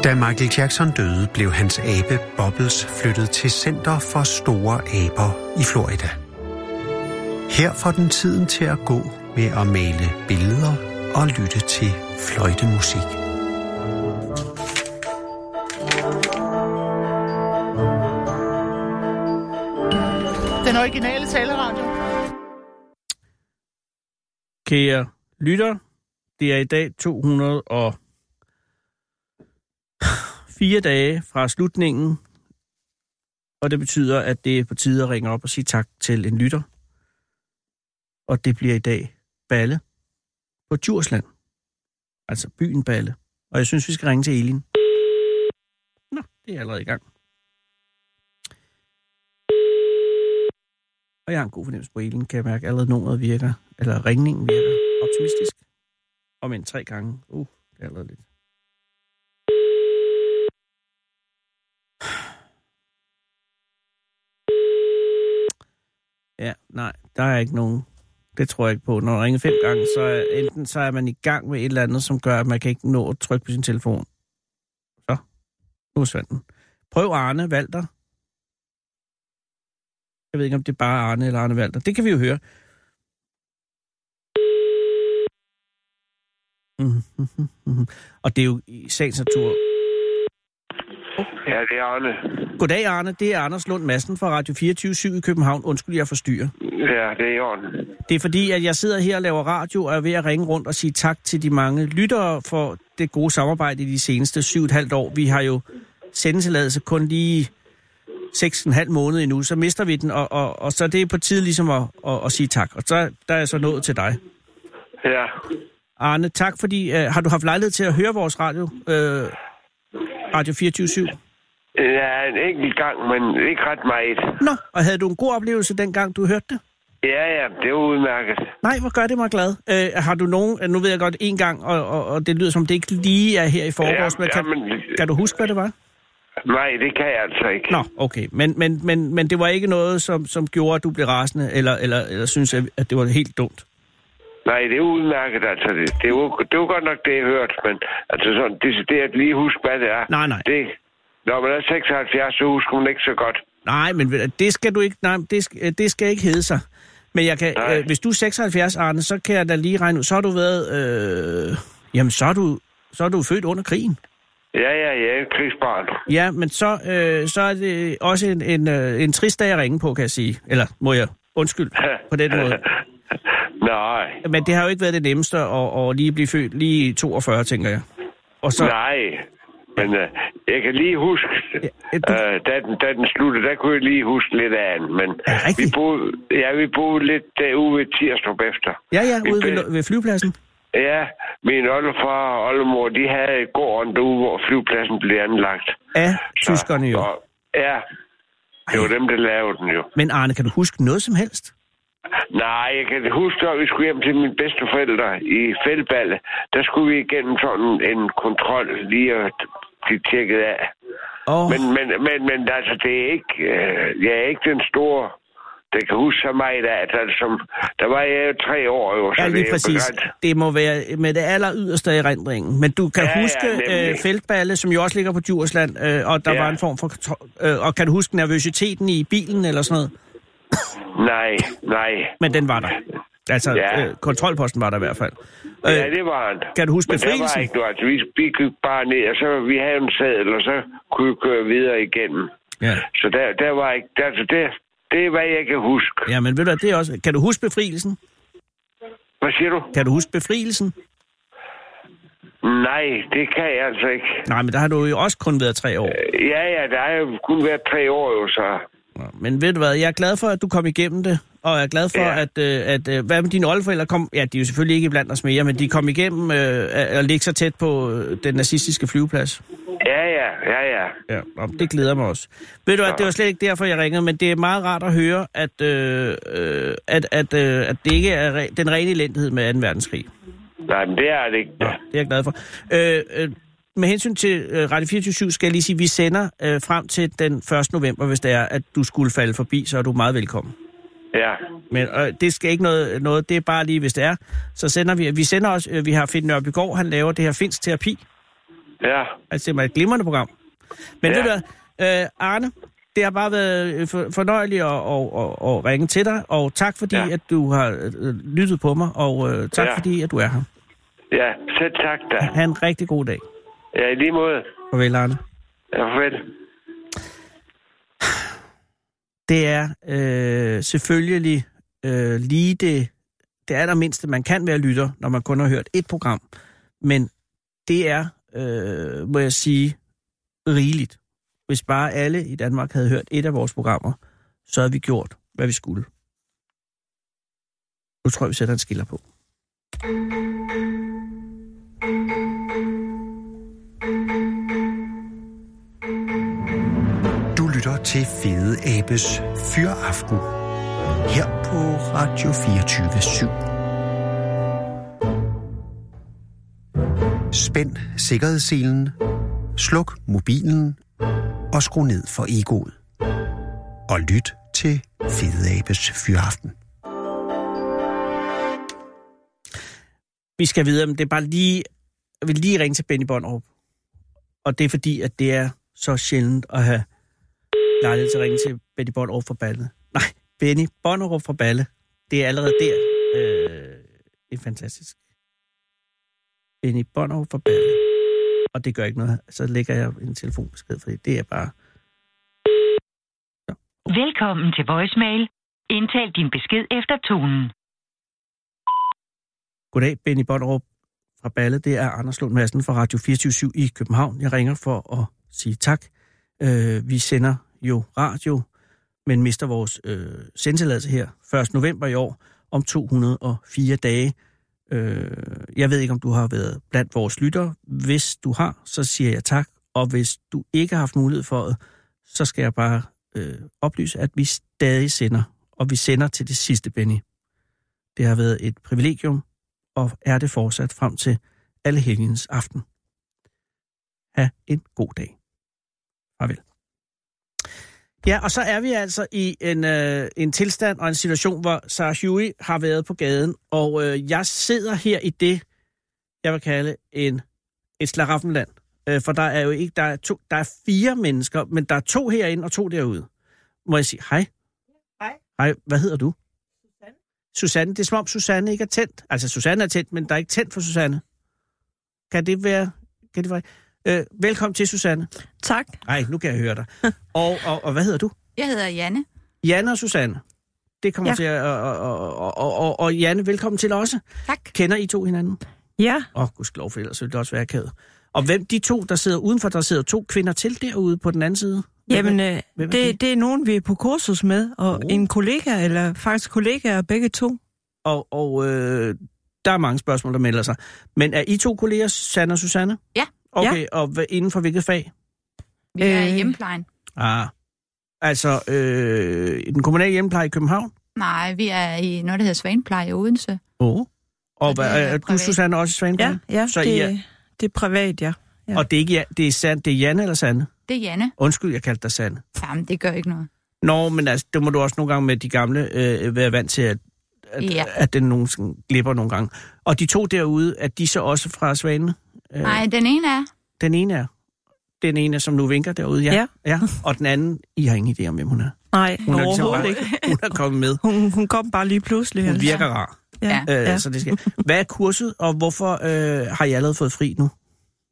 S1: Da Michael Jackson døde, blev hans abe Bobbles flyttet til Center for Store Aber i Florida. Her får den tiden til at gå med at male billeder og lytte til fløjtemusik.
S5: Den originale taleradio.
S3: Kære lytter, det er i dag 204 dage fra slutningen, og det betyder, at det er på tide at ringe op og sige tak til en lytter. Og det bliver i dag Balle på Djursland, altså byen Balle. Og jeg synes, vi skal ringe til Elin. Nå, det er allerede i gang. Og jeg har en god fornemmelse på Elin, kan jeg mærke. Allerede nummeret virker, eller ringningen virker optimistisk. Om end tre gange. Uh, det er allerede lidt. Ja, nej, der er ikke nogen. Det tror jeg ikke på. Når man ringer fem gange, så er, enten så er man i gang med et eller andet, som gør, at man kan ikke nå at trykke på sin telefon. Så, nu forsvandt den. Prøv Arne Valter. Jeg ved ikke, om det er bare Arne eller Arne Valter. Det kan vi jo høre. *laughs* Og det er jo i sagens natur.
S6: Ja, det er Arne.
S3: Goddag, Arne. Det er Anders Lund Madsen fra Radio 24 i København. Undskyld, jeg forstyrrer.
S6: Ja, det er i orden.
S3: Det er fordi, at jeg sidder her og laver radio, og er ved at ringe rundt og sige tak til de mange lyttere for det gode samarbejde i de seneste syv og et halvt år. Vi har jo sendetilladelse kun lige seks og en halv måned endnu, så mister vi den, og, og, og så er det er på tide ligesom at, at, at sige tak. Og så der er jeg så nået til dig.
S6: Ja.
S3: Arne, tak fordi... Øh, har du haft lejlighed til at høre vores radio? Øh, radio 24
S6: Ja, en enkelt gang, men ikke ret meget.
S3: Nå, og havde du en god oplevelse dengang, du hørte det?
S6: Ja, ja, det er udmærket.
S3: Nej, hvor gør det mig glad. Øh, har du nogen... Nu ved jeg godt en gang, og, og, og det lyder som, det ikke lige er her i forgårs,
S6: Ja,
S3: men kan,
S6: jamen-
S3: kan du huske, hvad det var?
S6: Nej, det kan jeg altså ikke.
S3: Nå, okay. Men, men, men, men det var ikke noget, som, som gjorde, at du blev rasende, eller, eller, eller synes, at at det var helt dumt?
S6: Nej, det er udmærket, altså. Det, det, var, det var godt nok det, jeg hørte, men altså sådan, decideret lige huske, hvad det er.
S3: Nej, nej.
S6: Det, når man er 76, så husker man ikke så godt.
S3: Nej, men ved du, det skal du ikke, nej, det, sk- øh, det skal ikke hedde sig. Men jeg kan,
S6: Nej.
S3: øh, hvis du er 76, Arne, så kan jeg da lige regne ud, så har du været, øh, jamen så er du, så er du født under krigen.
S6: Ja, ja, jeg er et krigsbarn.
S3: Ja, men så, øh, så er det også en, en, øh, en trist dag at ringe på, kan jeg sige. Eller må jeg
S6: *laughs*
S3: undskyld på den måde.
S6: nej,
S3: Men det har jo ikke været det nemmeste at, at lige blive født lige i 42, tænker jeg. Og så,
S6: nej. Men øh, jeg kan lige huske,
S3: ja, du-
S6: øh, da, den, da den sluttede, der kunne jeg lige huske lidt af den.
S3: Er
S6: Men
S3: det
S6: vi
S3: rigtigt?
S6: boede, ja, vi boede lidt derude ved Tirsdorp efter.
S3: ja, ja,
S6: Vi
S3: ude ved,
S6: blev-
S3: lo- ved flyvepladsen.
S6: Ja, min oldefar og oldemor, de havde gården derude, hvor flyvepladsen blev anlagt.
S3: Af tyskerne jo.
S6: Og, ja, det var dem, der lavede den jo.
S3: Men Arne, kan du huske noget som helst?
S6: Nej, jeg kan huske, at vi skulle hjem til mine bedsteforældre i Fældballe. Der skulle vi igennem sådan en kontrol lige at blive tjekket af.
S3: Åh,
S6: Men, men, men, men altså, det er ikke, øh, jeg er ikke den store, der kan huske så meget af, at altså, som, der var jeg jo tre år, jo, så
S3: Ja,
S6: det
S3: lige
S6: er
S3: præcis.
S6: begrænset.
S3: Det må være med det aller yderste i rendringen. Men du kan
S6: Ja,
S3: ja,
S6: ja,
S3: huske ja,
S6: nemlig.
S3: øh, feltballe, som jo også ligger på Djursland, øh, og der ja.
S6: Ja.
S3: var en form for... kontro- Øh, og kan du huske nervøsiteten i bilen eller sådan noget?
S6: Nej, nej.
S3: Men den var der. Altså, ja.
S6: Ja.
S3: øh, kontrolposten var der i hvert fald. Øh,
S6: Ja, det var han.
S3: kan du huske
S6: Men der var
S3: befrielsen?
S6: ikke noget. Altså, vi, vi gik bare ned, og så vi havde en sadel, og så kunne vi køre videre igennem.
S3: ja.
S6: Så der, der var ikke... Der, altså, det, det er, hvad jeg kan huske.
S3: ja, men ved du hvad, det er også... Kan du huske befrielsen?
S6: Hvad siger du?
S3: Kan du huske befrielsen?
S6: Nej, det kan jeg altså ikke.
S3: Nej, men der har du jo også kun været tre år.
S6: Ja, ja, der har jo kun været tre år, jo, så...
S3: Nå, Men ved du hvad, jeg er glad for, at du kom igennem det, og jeg er glad for, ja.
S6: Ja.
S3: at, øh, at øh, hvad med dine oldeforældre kom, ja, de er jo selvfølgelig ikke blandt os mere, men de kom igennem øh, at- at ligge så tæt på øh, den nazistiske flyveplads.
S6: Ja, ja, ja, ja.
S3: Ja, og det glæder mig også. Ved du at det var slet ikke derfor, jeg ringede, men det er meget rart at høre, at, øh, øh, at, at, øh, at det ikke er re- den rene elendighed med 2. verdenskrig.
S6: Nej, men det er det ikke.
S3: Ja. Det er jeg glad for. Øh, øh, med hensyn til øh, Radio 24 skal jeg lige sige, at vi sender øh, frem til den 1. november, hvis det er, at du skulle falde forbi, så er du meget velkommen.
S6: Ja,
S3: Men øh, det skal ikke noget, noget, det er bare lige, hvis det er. Så sender vi, vi sender også, øh, vi har Finn Nørbygård, han laver det her Finsk Terapi.
S6: ja.
S3: Altså, det var et glimrende program. Men ja.
S6: Ja.
S3: ved du hvad, øh, Arne, det har bare været øh, for, fornøjeligt at, at, at, at ringe til dig, og tak fordi, ja.
S6: Ja.
S3: at du har øh, lyttet på mig, og øh, tak ja.
S6: Ja.
S3: fordi, at du er her.
S6: Ja, selv tak da.
S3: Ha' en rigtig god dag.
S6: Ja, i lige måde.
S3: Farvel, Arne.
S6: Ja, farvel.
S3: det er øh, selvfølgelig øh, lige det, det allermindste, man kan være lytter, når man kun har hørt et program. Men det er, øh, må jeg sige, rigeligt. Hvis bare alle i Danmark havde hørt et af vores programmer, så havde vi gjort, hvad vi skulle. Nu tror jeg, vi sætter en skiller på.
S1: Du lytter til Fede Abes Fyraften her på Radio 24 Spænd sikkerhedsselen, sluk mobilen og skru ned for egoet. Og lyt til Fede Abes Fyraften.
S3: Vi skal videre, men det er bare lige... Jeg vil lige ringe til Benny Bonderup. Og det er fordi, at det er så sjældent at have lejlighed til at ringe til Benny Bonderup fra Balle. Nej, Benny Bonderup fra Balle. Det er allerede der. Øh, det er fantastisk. Benny Bono fra Bergen. Og det gør ikke noget. Så lægger jeg en telefonbesked, fordi det er bare...
S7: Velkommen til voicemail. Indtal din besked efter tonen.
S3: Goddag, Benny Bonderup fra Balle. Det er Anders Lund Madsen fra Radio 24 i København. Jeg ringer for at sige tak. Øh, vi sender jo radio, men mister vores øh, sendtilladelse her 1. november i år om 204 dage. Øh, jeg ved ikke, om du har været blandt vores lyttere. Hvis du har, så siger jeg tak. Og hvis du ikke har haft mulighed for det, så skal jeg bare øh, oplyse, at vi stadig sender. Og vi sender til det sidste, Benny. Det har været et privilegium, og er det fortsat frem til alle helgens aften. Ha' en god dag. Farvel. Ja, og så er vi altså i en, øh, en tilstand og en situation, hvor Sarah Huey har været på gaden, og øh, jeg sidder her i det, jeg vil kalde en, et slaraffenland. Øh, for der er jo ikke, der er, to, der er fire mennesker, men der er to herinde og to derude. Må jeg sige hej?
S8: Hej.
S3: Hej, hvad hedder du?
S8: Susanne.
S3: Susanne, det er som om Susanne ikke er tændt. Altså, Susanne er tændt, men der er ikke tændt for Susanne. Kan det være... Kan det være øh, velkommen til, Susanne.
S8: Tak.
S3: Nej, nu kan jeg høre dig. Og, og, og hvad hedder du?
S9: Jeg hedder Janne.
S3: Janne og Susanne. Det kommer ja.
S8: Ja.
S3: til at... Og, og, og, og, og Janne, velkommen til også.
S9: Tak.
S3: Kender I to hinanden?
S8: Ja,
S3: Åh, oh, gudskelov, for ellers ville det også være akavet. Og hvem de to, der sidder udenfor, der sidder to kvinder til derude på den anden side? Hvem er-
S8: jamen øh,
S3: hvem er de?
S8: det, det er nogen, vi er på kursus med, og
S3: Oh.
S8: oh. en kollega, eller faktisk kollegaer begge to.
S3: Og, og øh, der er mange spørgsmål, der melder sig. Men er I to kolleger, Sanne og Susanne?
S9: Ja.
S3: Okay, ja. og hvad, inden for hvilket fag?
S9: Vi er i
S8: Øh.
S9: hjemmeplejen.
S3: Ah. Altså, øh, i den kommunale hjemmepleje i København?
S9: Nej, vi er i noget, der hedder Svanepleje i Odense.
S3: Åh. Oh. Og
S9: Og
S3: hvad,
S9: det er
S3: er du,
S9: privat.
S3: Susanne, også i Svanegården?
S8: Ja, ja,
S3: Så
S8: det,
S3: I er,
S8: det er privat, ja. ja.
S3: Og det er ikke ja, det er, sand, det er Janne eller Sanne?
S9: Det er Janne.
S3: Undskyld, jeg kaldte dig Sanne.
S9: Jamen, det gør ikke noget.
S3: Nå, men altså, det må du også nogle gange med de gamle øh, være vant til, at, at,
S9: Ja.
S3: at den nogen sådan glipper nogle gange. Og de to derude, er de så også fra Svane? Øh,
S9: Nej, den ene er...
S3: Den ene er, den ene er, som nu vinker derude, ja.
S8: Ja.
S3: ja. Og den anden, I har ingen idé om, hvem hun er.
S8: Nej,
S3: Hun er ligesom
S8: overhovedet
S3: bare,
S8: ikke.
S3: Hun er kommet med.
S8: Hun, hun kom bare lige pludselig.
S3: Hun
S8: altså.
S3: virker rar.
S8: Ja,
S3: Øh,
S8: ja.
S3: Så det skal. Hvad er kurset, og hvorfor øh, har jeg allerede fået fri nu?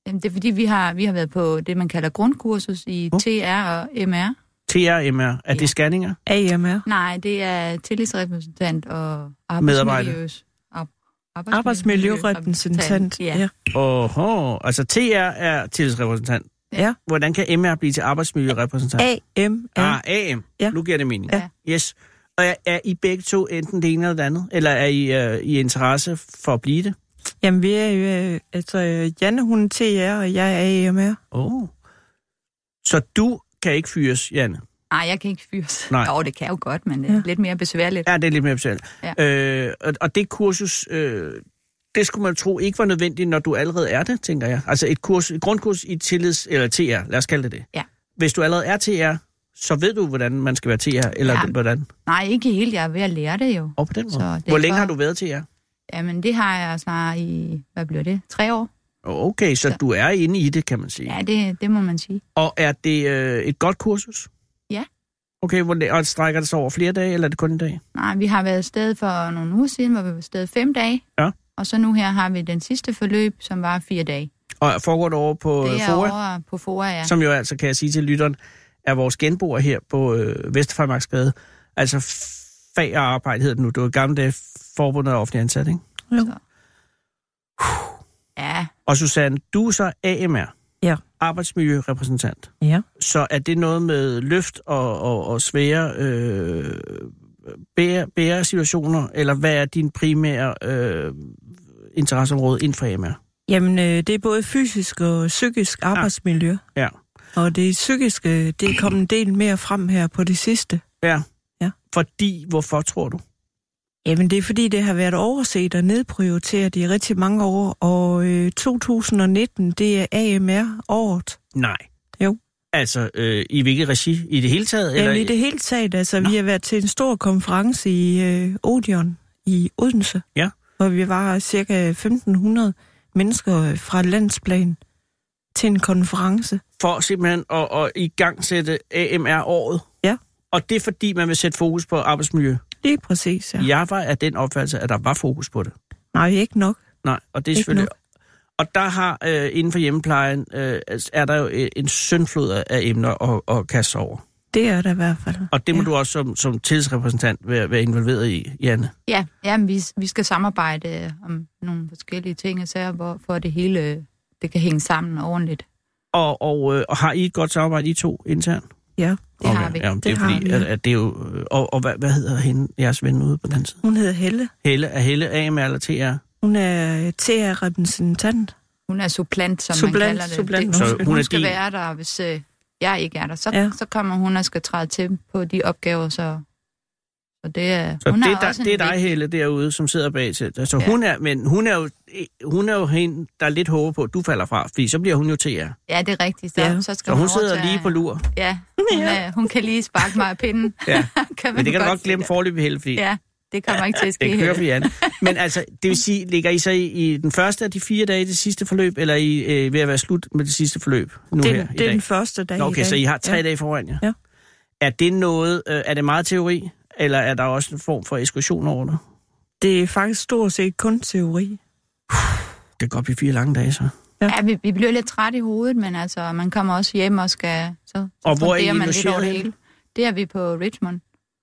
S9: Jamen, det er fordi, vi har, vi har været på det, man kalder grundkursus i
S3: Uh.
S9: TR og MR.
S3: TRMR, er ja.
S9: Ja.
S3: det scanninger?
S8: AMR.
S9: Nej, det er tillidsrepræsentant og
S3: Medarbejder.
S9: arbejdsmiljøs... Ab- arbejdsmiljø-
S8: Arbejdsmiljørepræsentant.
S9: Ja.
S8: Ja.
S3: Åhå, altså TR er tillidsrepræsentant.
S8: Ja.
S3: Hvordan kan MR blive til arbejdsmiljørepræsentant?
S8: AMR.
S3: Ah, AM. Ja.
S8: Ja.
S3: Nu giver det mening.
S9: Ja.
S3: Yes. Og er, er I begge to enten det ene eller det andet? Eller er I, øh, I interesse for at blive det?
S8: Jamen, vi er jo... Øh, altså, øh, Janne, hun er TR, og jeg er AMR.
S3: Oh. Så du kan ikke fyres, Janne?
S9: Nej, jeg kan ikke fyres.
S3: Nej.
S9: Jo, det kan jeg jo godt, men det er
S8: Ja.
S9: lidt mere besværligt.
S3: Ja, det er lidt mere specielt.
S9: Ja.
S3: Øh, og, og det kursus, øh, det skulle man tro ikke var nødvendigt, når du allerede er det, tænker jeg. Altså et, kurs, et grundkurs i tillids, eller TR, lad os kalde det det.
S9: Ja.
S3: Hvis du allerede er TR, så ved du, hvordan man skal være TR, eller ja.
S9: Ja.
S3: hvordan.
S9: Nej, ikke helt. Jeg er ved at lære det jo.
S3: Og på den måde.
S9: Så det er
S3: Hvor længe
S9: for-
S3: har du været TR?
S9: Jamen, det har jeg snart i... Hvad bliver det? Tre år?
S3: Okay, så, så
S9: Så-
S3: du er inde i det, kan man sige.
S9: Ja, det, det må man sige.
S3: Og er det øh, et godt kursus?
S9: Ja.
S3: Okay, hvor, læ- og strækker det sig over flere dage, eller er det kun en dag?
S9: Nej, vi har været afsted for nogle uger siden, hvor vi var afsted fem dage.
S3: Ja.
S9: Og så nu her har vi den sidste forløb, som var fire dage.
S3: Og foregår det over på
S9: det
S3: øh,
S9: er
S3: Fora,
S9: over på FOA, ja.
S3: som jo altså, kan jeg sige til lytteren, er vores genboer her på øh, Vesterfremarksgade. Altså fag og arbejde hedder det nu. Det var i gamle dage forbundet af offentlig ansat, ikke?
S8: Jo.
S9: Så. Ja,
S3: Og Susanne, du er så AMR.
S8: Ja.
S3: Arbejdsmiljørepræsentant.
S8: Ja.
S3: Så er det noget med løft og, og, og svære øh, bære, bære situationer, eller hvad er din primære øh, interesseområde inden for AMR?
S8: Jamen, øh, det er både fysisk og psykisk arbejdsmiljø.
S3: Ah. Ja.
S8: Og det psykiske, det er kommet en del mere frem her på det sidste.
S3: Ja.
S8: Ja.
S3: Fordi, hvorfor tror du?
S8: Jamen, det er fordi, det har været overset og nedprioriteret i rigtig mange år, og øh, 2019, det er AMR-året.
S3: Nej.
S8: Jo.
S3: Altså, øh, i hvilket regi? I det hele taget?
S8: Jamen, i det hele taget, altså, vi har været til en stor konference i øh, Odeon i Odense,
S3: Ja.
S8: hvor vi var cirka 1.500 mennesker øh, fra landsplan til en konference.
S3: For simpelthen at, at i gang sætte AMR-året?
S8: Ja.
S3: Og det er fordi, man vil sætte fokus på arbejdsmiljø?
S8: Lige præcis, ja.
S3: Jeg var af den opfattelse, at der var fokus på det.
S8: Nej, ikke nok.
S3: Nej, og det er
S8: Ikke
S3: selvfølgelig... Og der har øh, inden for hjemmeplejen, øh, er der jo øh, en søndflod af- af emner at, at kaste sig over.
S8: Det er der i hvert fald.
S3: Og det må
S8: ja.
S3: ja. du også som, som tillidsrepræsentant være, være involveret i, Janne.
S9: Ja, ja men vi, vi skal samarbejde øh, om nogle forskellige ting og sager, hvor, for at det hele øh, det kan hænge sammen ordentligt.
S3: Og, og, øh, og har I et godt samarbejde, I to internt?
S8: Ja,
S9: Det har vi.
S3: Ja, det, det er
S8: Det har
S3: fordi,
S8: vi.
S3: at, at det er jo... øh, Og, og hvad, hvad hedder hende, jeres ven ude på den side?
S8: hun hedder Helle.
S3: Helle, er Helle AMR eller TR?
S8: Hun er TR-repræsentant.
S9: Hun er supplant, som
S8: Supplant,
S9: man kalder det.
S8: supplant,
S9: det
S8: Så
S3: undskyld. hun
S9: hun
S3: er
S9: skal
S3: din-
S9: være der, og hvis øh, jeg ikke er der. Så,
S8: Ja.
S9: ja. så kommer hun og skal træde til på de opgaver, så, så det er...
S3: Så
S9: hun
S3: det,
S9: har
S3: er der,
S9: også en
S3: det er dig,
S9: vigtig-
S3: Helle, derude, som sidder bag til. Altså, ja.
S9: Ja.
S3: hun er, men hun er, jo, hun er jo hende, der er lidt håber på, at du falder fra, fordi så bliver hun jo TR. Så
S9: Ja, det er rigtigt. Så,
S8: Ja.
S9: ja. så skal
S3: hun
S9: man
S3: sidder
S9: overtage-
S3: lige på lur.
S9: Ja, hun, ja. Øh, hun kan lige sparke mig af pinden. *laughs*
S3: Ja.
S9: kan man
S3: Men det kan du godt
S9: sige
S3: glemme forløbig, Helle, fordi
S9: Ja, det kommer ikke til at ske.
S3: det kører
S9: Helle.
S3: for Janne. Men altså, det vil sige, ligger I så i, i den første af de fire dage i det sidste forløb, eller er I øh, ved at være slut med det sidste forløb nu
S8: Det
S3: her
S8: er,
S3: i
S8: den, det
S3: dag?
S8: er den første dag
S3: Nå,
S8: i
S3: okay,
S8: dag.
S3: så I har tre
S8: ja.
S3: ja. dage foran jer.
S8: Ja.
S3: Er det noget, øh, er det meget teori, eller er der også en form for ekskursion over det?
S8: Det er faktisk stort set kun teori.
S3: Det kan godt blive fire lange dage, så.
S9: Ja, vi, vi bliver lidt træt i hovedet, men altså, man kommer også hjem og skal... Så, så
S3: Og hvor er I
S9: funderer man lidt
S3: logeret
S9: over det
S3: henne?
S9: hele. Det er vi på Richmond.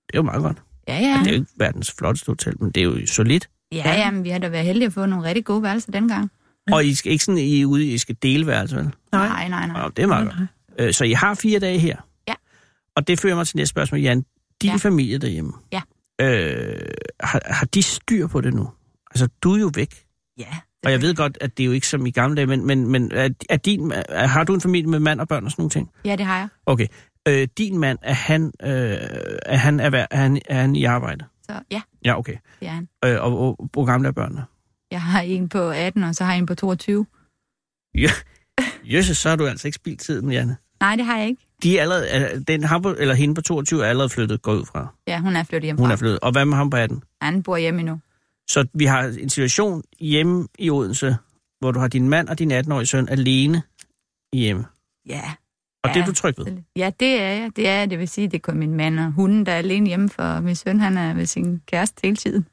S3: Det er jo meget godt.
S9: Ja,
S3: Ja. Det er jo
S9: ja.
S3: ikke verdens flotteste hotel, men det er jo solidt.
S9: Ja, ja, men vi har da været heldige at få nogle rigtig gode værelser dengang.
S3: Og I skal ikke sådan, I er ude, I skal dele værelse, vel?
S8: Nej.
S9: nej, nej. nej.
S3: Ja, det er meget godt. Øh, Så I har fire dage her.
S9: Ja.
S3: Og det fører mig til næste spørgsmål, Jan. Din
S9: Ja.
S3: ja. familie derhjemme.
S9: Ja.
S3: Øh, har, har de styr på det nu? Altså, du er jo væk.
S9: Ja.
S3: Og jeg ved godt, at det er jo ikke som i gamle dage, men, men, men er, er din, er, har du en familie med mand og børn og sådan nogle ting?
S9: Ja, det har jeg.
S3: Okay. Øh, din mand, er han, øh, er, han erhver, er, han, er han i arbejde?
S9: Så ja,
S3: Ja, okay.
S9: det er han.
S3: Øh, og hvor, hvor gamle er børnene?
S9: Jeg har en på 18, og så har jeg en på 22.
S3: Ja. Jøsses, så har du altså ikke spildt tiden, Janne.
S9: Nej, det har jeg ikke.
S3: De er allerede, er- den ham på, eller hende på 22 er allerede flyttet, går jeg ud fra.
S9: Ja, hun er flyttet hjem.
S3: Hun er flyttet. Og hvad med ham på 18?
S9: Han bor hjemme endnu.
S3: Så vi har en situation hjemme i Odense, hvor du har din mand og din 18-årige søn alene hjemme.
S9: Ja.
S3: Og
S9: ja.
S3: det er du tryg ved.
S9: Ja, det er jeg. Det er jeg. Det vil sige, det er kun min mand og hunden, der er alene hjemme, for min søn, han er ved sin kæreste hele tiden.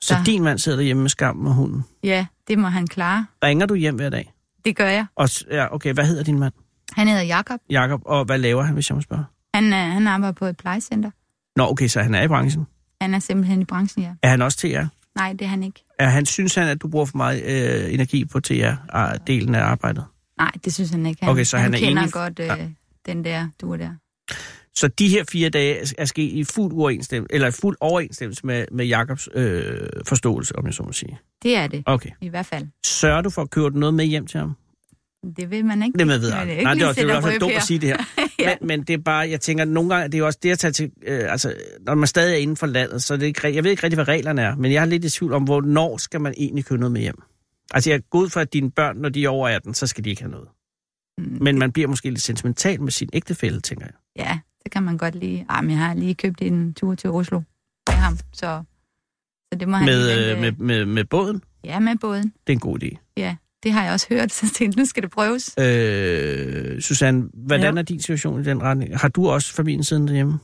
S3: Så
S9: Ja.
S3: din mand sidder derhjemme med skammen og hunden.
S9: Ja, det må han klare.
S3: Ringer du hjem hver dag?
S9: Det gør jeg.
S3: Og, s- ja, okay, hvad hedder din mand?
S9: Han hedder Jakob.
S3: Jakob, og hvad laver han, hvis jeg må spørge?
S9: Han, øh, han arbejder på et plejecenter.
S3: Nå, okay, så han er i branchen.
S9: Han er simpelthen i branchen, ja.
S3: Er han også TR?
S9: Nej, det er han ikke.
S3: Er han, synes han, at du bruger for meget øh, energi på TR-delen af arbejdet?
S9: Nej, det synes han ikke. Han,
S3: Okay, så han er
S9: kender
S3: enig- Ah.
S9: godt øh,
S3: Ja.
S9: den der, du er der.
S3: Så de her fire dage er- er sket i fuld, uoverensstemmelse, eller i fuld overensstemmelse med, med Jakobs øh, forståelse, om jeg så må sige.
S9: Det er det,
S3: Okay.
S9: i hvert fald.
S3: Sørger du for at køre noget med hjem til ham?
S9: Det vil man ikke.
S3: Det med ved jeg.
S9: Man vil
S3: aldrig.
S9: ikke
S3: Nej, det er
S9: lige
S3: også det er i
S9: sætte
S3: hvert fald
S9: røb
S3: dumt
S9: her.
S3: at sige det her.
S9: *laughs* Ja.
S3: men, men det er bare, jeg tænker, at nogle gange, det er jo også det at tage til, øh, altså, når man stadig er inden for landet, så er det ikke, ri- jeg ved ikke rigtig, hvad reglerne er, men jeg er lidt i tvivl om, hvornår skal man egentlig købe noget med hjem? Altså, jeg er god for, at dine børn, når de er over 18, så skal de ikke have noget.
S9: Mm.
S3: Men man bliver måske lidt sentimental med sin ægtefælle, tænker jeg.
S9: Ja, det kan man godt lige. Ah, men jeg har lige købt en tur til Oslo af ham, så, så det må han lige
S3: Med,
S9: vente.
S3: øh, med, med, med båden,
S9: Ja, med båden.
S3: det er en god idé.
S9: Ja, det har jeg også hørt, *laughs* så jeg tænkte, nu skal det prøves.
S3: Øh, Susanne, hvordan
S8: Ja.
S3: er din situation i den retning? Har du også familien siden derhjemme?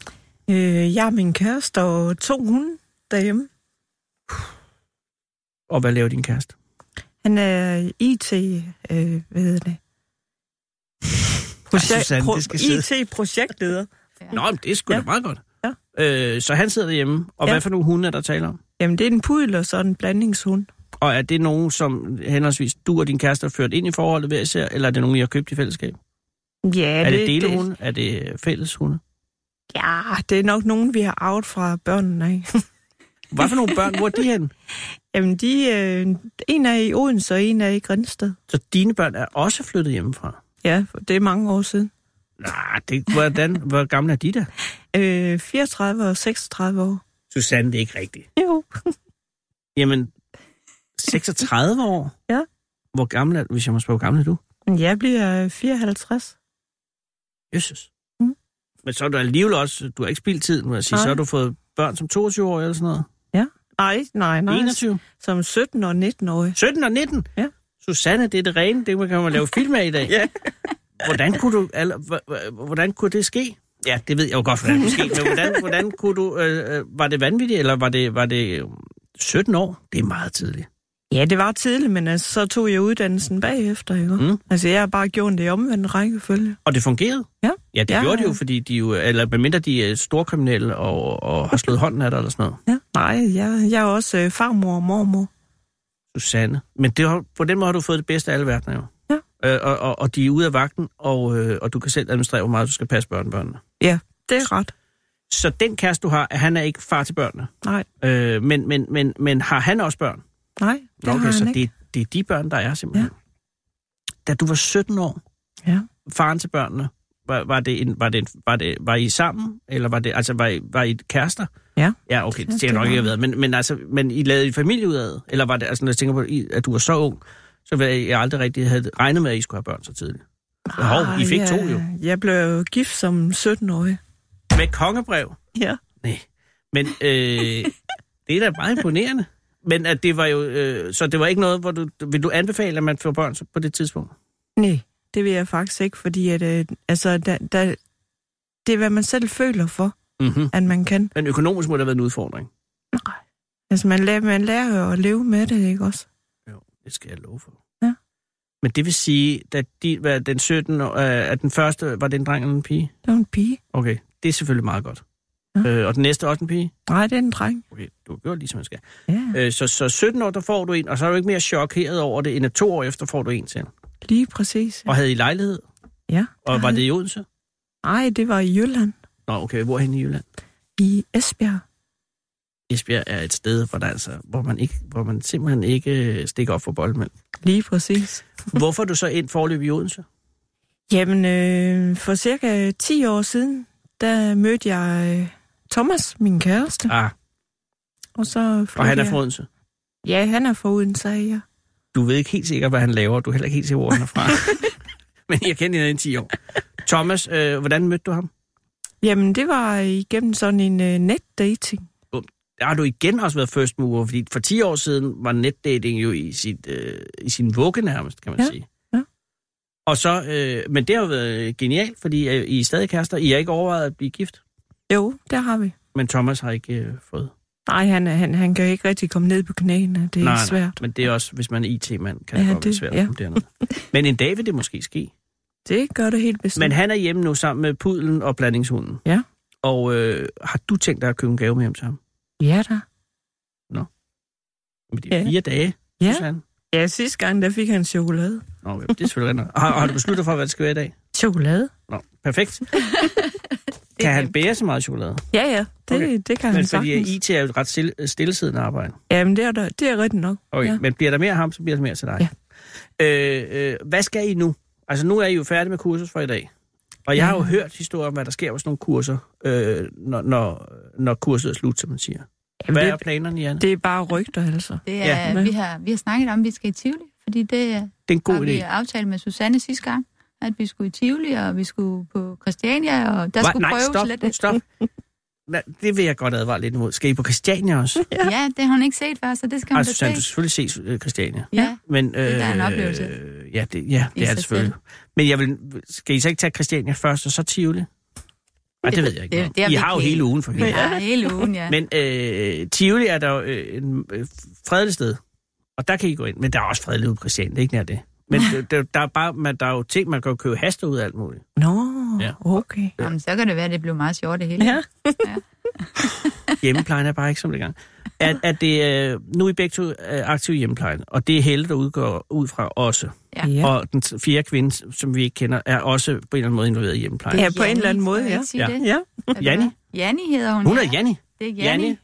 S8: Øh, jeg og min kæreste og to hunde derhjemme.
S3: Og hvad laver din kæreste?
S8: Han er IT, øh, hvad hedder
S3: *laughs*
S8: det? Projekt,
S3: Susanne, det skal sidde.
S8: IT-projektleder.
S3: Nå, men det er sgu ja.
S8: Ja.
S3: da meget godt.
S8: Ja.
S3: Øh, så han sidder derhjemme, og ja.
S8: Ja.
S3: hvad for nogle hunde er der tale om?
S8: Jamen, det er en pudel og så en blandingshund.
S3: Og er det nogen, som henholdsvis du og din kæreste har ført ind i forholdet hver især, eller er det nogen, I har købt i fællesskab?
S8: Ja,
S3: Er, er det, det delehunde? Er det fælleshunde?
S8: Ja, det er nok nogen, vi har arvet fra børnene af. *laughs*
S3: Hvad for nogle børn, hvor er de hen?
S8: Jamen, de, øh, en er i Odense, og en er i Grænsted.
S3: Så dine børn er også flyttet hjemmefra?
S8: Ja, for det er mange år siden.
S3: Nej, det, hvordan, hvor gamle er de der?
S8: Øh, 34 og 36 år.
S3: Susanne, det er ikke rigtigt.
S8: Jo.
S3: Jamen, 36 år?
S8: Ja.
S3: Hvor gammel er du, hvis jeg må spørge, hvor gammel er du?
S8: Men Jeg bliver øh, 54.
S3: Jesus.
S8: Mm.
S3: Men så er du alligevel også, du har ikke spildt tiden, må jeg sige.
S8: Nej.
S3: Så har du fået børn som 22 år eller sådan noget?
S8: Nej, nej, nej.
S3: 21?
S8: Som 17 og 19-årig.
S3: 17 og 19?
S8: Ja.
S3: Susanne, det er det rene, det kan
S8: *laughs*
S3: man lave film af i dag.
S8: Ja.
S3: Hvordan kunne, du, al- h- h- hvordan kunne det ske? Ja, det ved jeg jo godt, hvordan det skete, men hvordan, hvordan kunne du, øh, øh, var det vanvittigt, eller var det, var det øh, 17 år? Det er meget tidligt.
S8: Ja, det var tidligt, men altså, så tog jeg uddannelsen bagefter, ikke?
S3: Mm.
S8: Mm. Altså, jeg har bare gjort det i omvendt rækkefølge.
S3: Og det fungerede?
S8: Ja.
S3: Ja, det ja,
S8: Ja,
S3: gjorde det
S8: ja.
S3: jo, fordi de jo, eller medmindre de er storkriminelle og, og har slået hånden af dig eller sådan noget.
S8: Ja. Nej, jeg, jeg er også øh, farmor og mormor.
S3: Susanne. Men det har, på den måde har du fået det bedste af alle verdener jo.
S8: Ja.
S3: Øh, og, og, og de er ude af vagten, og, øh, og du kan selv administrere, hvor meget du skal passe børnebørnene.
S8: Ja, det er ret.
S3: Så den kæreste, du har, han er ikke far til børnene.
S8: Nej,
S3: Øh, men, men, men, men har han også børn?
S8: nej, det
S3: Nå,
S8: har
S3: så
S8: han ikke.
S3: det, det er de børn, der er simpelthen. Ja. Da du var 17 år,
S8: Ja.
S3: faren til børnene, var, var, det en, var, det en, var, det, var I sammen? Eller var det, altså, var I, var I kærester?
S8: Ja.
S3: Ja, okay, det tænker
S8: Ja, det
S3: jeg nok
S8: var
S3: ikke, jeg ved. Men, men, altså, men I lavede I familie ud af det? Eller var det, altså, når jeg tænker på, I- at du var så ung, så var jeg aldrig rigtig havde regnet med, at I skulle have børn så tidligt. Hov, I fik
S8: jeg,
S3: to jo.
S8: Jeg blev jo gift som 17-årig.
S3: Med kongebrev?
S8: Ja.
S3: Nej. Men
S8: *laughs*
S3: øh, det er da meget imponerende. Men at det var jo, øh, så det var ikke noget, hvor du, vil du anbefale, at man får børn så- på det tidspunkt?
S8: Nej, det vil jeg faktisk ikke, fordi at, øh, altså, da, da, det er, hvad man selv føler for,
S3: Mm-hmm.
S8: at man kan.
S3: Men økonomisk må det have været en udfordring.
S8: Altså, man lærer, man lærer jo at leve med det, ikke også?
S3: Jo, det skal jeg love for.
S8: Ja.
S3: Men det vil sige, at de, hvad, den 17, år- øh, at den første, var det en dreng eller en pige?
S8: Det var en pige.
S3: Okay, det er selvfølgelig meget godt.
S8: Ja.
S3: Øh, og den næste er også en pige?
S8: Nej, det er en dreng.
S3: Okay, du har gjort lige som man skal.
S8: Ja.
S3: Øh, så, så 17 år, der får du en, og så er du ikke mere chokeret over det, end at to år efter får du en til.
S8: Lige præcis.
S3: Og havde I lejlighed?
S8: Ja.
S3: Og var det i Odense?
S8: Nej, det var i Jylland.
S3: Nå, okay, hvorhen i Jylland?
S8: I Esbjerg.
S3: Esbjerg er et sted, hvor, der altså, hvor, man ikke, hvor man simpelthen ikke øh, stikker op for
S8: *laughs*
S3: boldmænd.
S8: Lige præcis.
S3: Hvorfor er du så ind forløb i Odense?
S8: Jamen, øh, for cirka 10 år siden, der mødte jeg øh, Thomas, min kæreste.
S3: Ah,
S8: Og, så
S3: og han er
S8: flyttede
S3: fra
S8: jeg-
S3: Odense.
S8: Ja, han er fra Odense, sagde jeg.
S3: Du ved ikke helt sikkert, hvad han laver, og du er heller ikke helt sikker, hvor han er
S8: *laughs*
S3: fra. Men jeg kender hende i 10 år. Thomas, øh, hvordan mødte du ham?
S8: Jamen, det var igennem sådan en øh, netdating.
S3: Der har du igen også været first mover, fordi for 10 år siden var netdating jo i, sit, øh, i sin vugge nærmest, kan man
S8: Ja,
S3: sige.
S8: ja.
S3: Og så, øh, men det har jo været genialt, fordi øh, I er stadig kærester. I har ikke overvejet at blive gift,
S8: Jo, der har vi.
S3: men Thomas har ikke øh, fået
S8: Nej, han, er- han, han kan ikke rigtig komme ned på knæene. Det er
S3: nej,
S8: svært.
S3: Nej, men det er også, hvis man er IT-mand, kan ja,
S8: Ja,
S3: det godt være
S8: det-
S3: svært
S8: ja.
S3: ja. dernede. Men en dag vil det måske ske.
S8: Det gør det helt bestemt.
S3: Men han er hjemme nu sammen med pudlen og blandingshunden.
S8: Ja.
S3: Og øh, har du tænkt dig at købe en gave med hjem til ham?
S8: Ja da.
S3: Men det er
S8: Ja.
S3: fire dage,
S8: Ja.
S3: Susanne.
S8: ja, sidste gang, der fik han chokolade.
S3: Nå, okay, det er selvfølgelig rent. Har, har du besluttet for, hvad det skal være i dag?
S8: Chokolade?
S3: Nå,
S8: *laughs*
S3: perfekt. kan han bære så meget chokolade?
S8: Ja, ja. Det,
S3: Okay.
S8: okay. det kan
S3: Men fordi
S8: han sagtens. I...
S3: IT er jo et ret stille, stillesiddende arbejde.
S8: Jamen, det er, der, det er rigtigt nok.
S3: Okay, ja.
S8: Ja.
S3: men bliver der mere af ham, så bliver der mere til dig. Ja. Øh, øh, hvad skal I nu? Altså, nu er I jo færdige med kursus for i dag. Og jeg har jo
S8: Ja.
S3: hørt historier om, hvad der sker på sådan nogle kurser, øh, når, når, når kurset er slut, som man siger.
S8: Jamen,
S3: Hvad er
S8: det,
S3: planerne, Janne? Det,
S8: det er bare rygter, altså.
S9: Det
S3: Ja.
S9: er, ja. vi, har, vi har snakket om, at vi skal i Tivoli, fordi det øh,
S3: det er en god
S9: har vi
S3: idé.
S9: aftalt med Susanne sidste gang, at vi skulle i Tivoli, og vi skulle på Christiania, og der
S3: Hva?
S9: skulle
S3: Nej,
S9: prøves
S3: stop,
S9: lidt.
S3: stop. Nej, det vil jeg godt advare lidt imod. Skal I på Christiania
S9: *laughs*
S3: også?
S9: Ja. ja, det har hun ikke set før, så det skal hun
S3: Nej,
S9: da
S3: Susanne, du
S9: se.
S3: skal selvfølgelig se øh, Christiania.
S9: Ja,
S3: Men, øh,
S9: er da en oplevelse.
S3: Ja, det, ja,
S9: I
S3: det er
S9: sig
S3: det selvfølgelig. Men jeg vil, skal I så ikke tage Christiania først, og så Tivoli? Nej, det ved jeg ikke.
S9: det-
S3: noget om.
S9: det
S3: I
S9: har vi
S3: har jo
S9: ikke
S3: hele
S9: helt-
S3: ugen for
S9: vi
S3: helvede.
S9: har hele ugen, ja.
S3: Men øh, Tivoli er der jo øh, en øh, fredeligt sted, og der kan I gå ind. Men der er også fredeligt ude på Christian, det er ikke nær det.
S9: *laughs*
S3: Men øh, der, der, er bare, man, der er jo ting, man kan jo købe haster ud af alt muligt.
S8: Nå,
S3: Ja.
S8: ja. okay.
S9: Jamen, så kan det være, at det blev meget sjovt det hele.
S8: Ja.
S3: Hjemmeplejen er bare ikke som det gang. At, at det, øh, nu er I begge to øh, aktive i hjemmeplejen, og det er Helle, der udgår ud fra også.
S9: Ja.
S8: Ja.
S3: Og den t- fjerde kvinde, som vi ikke kender, er også på en eller anden måde involveret i hjemmeplejen.
S8: Ja, på en eller anden
S9: Janni,
S8: måde,
S9: skal jeg
S3: Ja.
S9: ikke sige
S8: ja.
S9: det?
S8: Ja,
S9: Er det
S3: Janni.
S9: hvad? Janni hedder hun.
S3: Hun
S9: ja.
S3: er Janni.
S9: Det er Janni.
S3: Janni.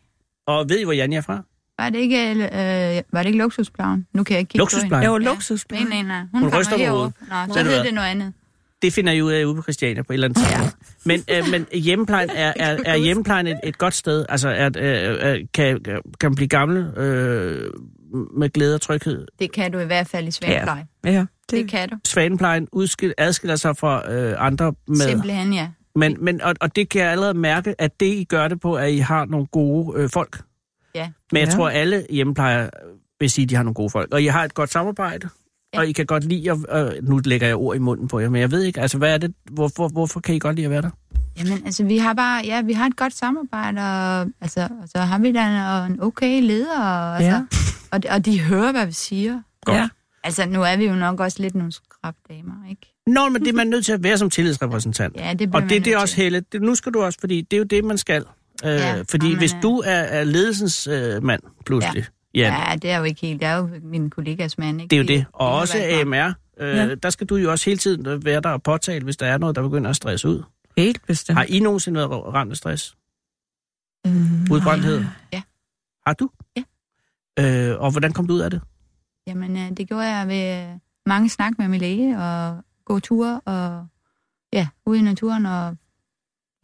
S3: Og ved I, hvor Janni er fra?
S9: Var det ikke, øh, var det ikke luksusplejen? Nu kan jeg ikke kigge
S3: Luksusplejen.
S8: det var
S9: Ja.
S8: luksus.
S9: på hende. Nej, nej, nej. Hun,
S3: Hun
S9: kommer
S3: ryster på
S9: herover. Nå,
S3: Ved
S9: så
S3: du
S9: hedder
S3: hvad?
S9: det noget andet.
S3: Det finder I ud af ude på Christiania på et eller andet tidspunkt. Men, øh, men hjemmeplejen,
S9: *laughs*
S3: er, er, er hjemmeplejen et, et godt sted? Altså, er, er, er, kan, kan man blive gammel øh, med glæde og tryghed?
S9: Det kan du i hvert fald i Svendpleje. Ja.
S8: Ja, det,
S9: Det kan du.
S3: Svaneplejen udskil, adskiller sig fra øh, andre med.
S9: Simpelthen, ja.
S3: Men, men, og, og det kan jeg allerede mærke, at det I gør det på, at I har nogle gode øh, folk.
S9: Ja.
S3: Men jeg
S8: Ja.
S3: tror, alle hjemmeplejere vil sige, at de har nogle gode folk. Og I har et godt samarbejde.
S9: Ja.
S3: Ja. Og I kan godt lide at... Øh, nu lægger jeg ord i munden på jer, men jeg ved ikke, altså hvad er det? Hvorfor, hvorfor kan I godt lide at være der?
S9: Jamen, altså, vi har bare, ja, vi har et godt samarbejde, og, altså, og så har vi da en, og en okay leder, og,
S8: Ja.
S9: altså, Og, de- og de hører, hvad vi siger.
S3: Godt.
S8: Ja.
S9: Altså, nu er vi jo nok også lidt nogle skrabdamer, ikke?
S3: Nå, men det er man nødt til at være som tillidsrepræsentant.
S9: Ja, det bliver
S3: Og
S9: man
S3: det, det er
S9: nødt
S3: også
S9: til.
S3: Helle. Det, nu skal du også, fordi det er jo det, man skal. Øh,
S9: Ja,
S3: fordi
S9: og man
S3: hvis
S9: er-
S3: du er, er ledelsens øh, mand pludselig, ja. Ja,
S9: Ja, det er jo ikke helt. Det er jo min kollegas mand, ikke?
S3: det er jo det. Og
S9: har
S3: også
S9: været godt.
S3: AMR. Øh,
S8: Ja.
S3: Der skal du jo også hele tiden øh, være der og påtale, hvis der er noget, der begynder at stresse ud.
S8: Helt bestemt.
S3: Har I nogensinde været ramt af stress?
S9: Mm,
S3: Udbrændthed?
S9: Ja.
S3: Har du?
S9: Ja.
S3: Øh, og hvordan kom du ud af det?
S9: Jamen, øh, det gjorde jeg ved øh, mange snak med min læge, og gå ture, og ja, ude i naturen, og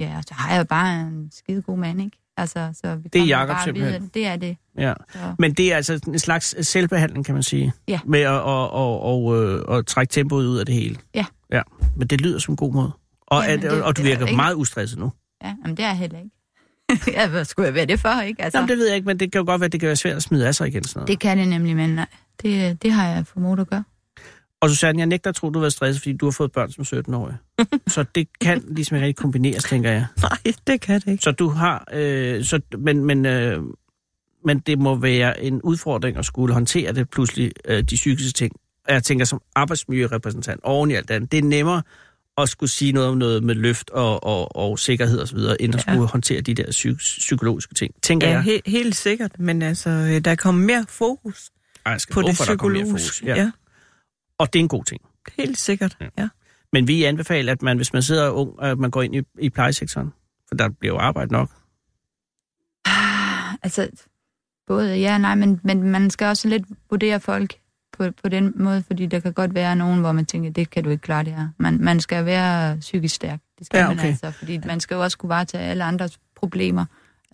S9: ja, og så har jeg jo bare en skide god mand, ikke? Altså, så vi
S3: Det er
S9: kommer
S3: Jacob
S9: bare
S3: simpelthen.
S9: videre. Det er det.
S3: Ja.
S9: Så.
S3: Men det er altså en slags selvbehandling, kan man sige.
S9: Ja.
S3: Med at, og, og, og, øh, at trække tempoet ud af det hele.
S9: Ja.
S3: ja. Men det lyder som en god måde. Og,
S9: Jamen,
S3: at,
S9: det-
S3: og du
S9: det er
S3: virker
S9: der ikke-
S3: meget ustresset nu.
S9: Ja, jamen, det er jeg heller ikke. *laughs* ja, hvad skulle jeg være det for, ikke? Altså,
S3: Nå, men det ved jeg ikke, men det kan jo godt være, at det kan være svært at smide af sig igen. Sådan noget.
S9: det kan det nemlig, men nej, det, det har jeg formået at gøre.
S3: Og Susanne, jeg nægter at tro, du har været stresset, fordi du har fået børn som
S8: *laughs*
S3: 17-årig. så det kan ligesom ikke rigtig kombineres, tænker jeg.
S8: Nej, det kan det ikke.
S3: Så du har... Øh, så, men, men, øh, men det må være en udfordring at skulle håndtere det pludselig, øh, de psykiske ting. Og Jeg tænker som arbejdsmiljørepræsentant oven i alt andet. Det er nemmere at skulle sige noget om noget med løft og, og, og sikkerhed osv., end at
S8: Ja.
S3: skulle håndtere de der psyk- psykologiske ting. Tænker
S8: Ja,
S3: jeg.
S8: he- helt sikkert, men altså, øh, der kommer mere fokus
S3: Ej, jeg skal
S8: på
S3: love
S8: det
S3: for, der kommer mere fokus.
S8: psykologiske.
S3: Ja. Ja.
S8: ja,
S3: Og det er en god ting.
S8: helt sikkert, ja.
S3: Men vi anbefaler, at man, hvis man sidder ung, at man går ind i, i plejesektoren. For der bliver jo arbejde nok.
S9: Altså, både ja og nej, men, men man skal også lidt vurdere folk på, på den måde, fordi der kan godt være nogen, hvor man tænker, det kan du ikke klare det her. Man, man skal være psykisk stærk. Det skal
S3: Ja,
S9: ja, okay.
S3: okay.
S9: man altså, fordi man skal jo også kunne varetage alle andres problemer,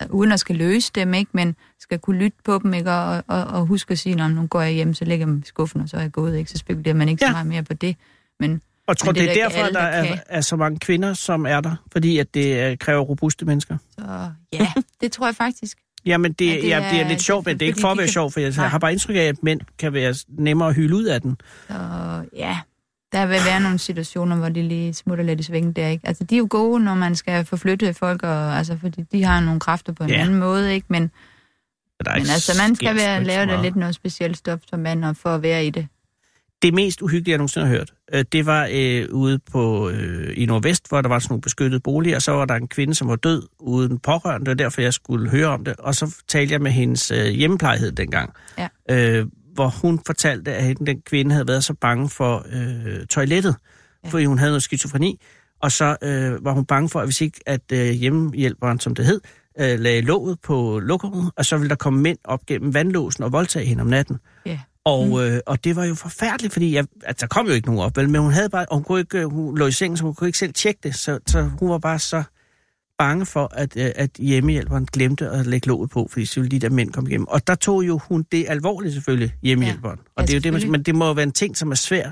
S9: øh, uden at skal løse dem, ikke? men skal kunne lytte på dem, ikke? Og, og, og huske at sige, "Nå, men nu går jeg hjem, så lægger jeg dem i skuffen, og så er jeg gået, ikke? så spekulerer man ikke ja.
S3: Ja.
S9: så meget mere på det. Men
S3: Og tror,
S9: Men
S3: det
S9: det
S3: er,
S9: er da ikke
S3: derfor,
S9: alle,
S3: der
S9: der
S3: er,
S9: kan.
S3: er så mange kvinder, som er der. Fordi at det øh, kræver robuste mennesker.
S9: så ja, det tror jeg faktisk.
S3: Jamen, det, ja,
S9: Ja,
S3: det,
S9: det
S3: er, det er
S9: er-
S3: lidt sjovt, men det er ikke
S9: fordi
S3: for at
S9: de
S3: være
S9: kan-
S3: sjovt, for jeg
S9: Nej.
S3: har bare indtryk af, at mænd kan være nemmere at hylde ud af den.
S9: Og ja, der vil være nogle situationer, hvor de lige smutter lidt i svingen der, ikke? Altså, de er jo gode, når man skal forflytte folk, og, altså, fordi de har nogle kræfter på en
S3: Ja.
S9: ja. anden måde, ikke? Men,
S3: Men der er
S9: men
S3: ikke-
S9: altså, man
S3: sker
S9: skal være,
S3: sgu ikke så
S9: lave der
S3: meget.
S9: lidt noget specielt stof som mand, og for at være i det.
S3: Det mest uhyggelige, jeg nogensinde har hørt, øh, det var øh, ude på, øh, i Nordvest, hvor der var sådan nogle beskyttede boliger, og så var der en kvinde, som var død uden pårørende, det var derfor, jeg skulle høre om det, og så talte jeg med hendes øh, hjemmeplejehed dengang,
S9: Ja.
S3: øh, hvor hun fortalte, at hende, den kvinde havde været så bange for øh, toilettet, ja.
S9: Ja.
S3: fordi hun havde noget skizofreni, og så øh, var hun bange for, at hvis ikke at øh, hjemmehjælperen, som det hed, øh, lagde låget på lokummet, og så ville der komme mænd op gennem vandlåsen og voldtage hende om natten.
S9: Ja.
S3: Og, mm. øh, og det var jo forfærdeligt, fordi jeg, altså, der kom jo ikke nogen op, vel, men hun, havde bare, og hun, kunne ikke, øh, hun lå i sengen, så hun kunne ikke selv tjekke det, så, så hun var bare så bange for, at, øh, at hjemmehjælperen glemte at lægge låget på, fordi så ville de der mænd komme igennem. Og der tog jo hun det alvorligt selvfølgelig, hjemmehjælperen. Ja, og det er jo det, man,
S9: selvfølgelig.
S3: men det må jo være en ting, som er svær,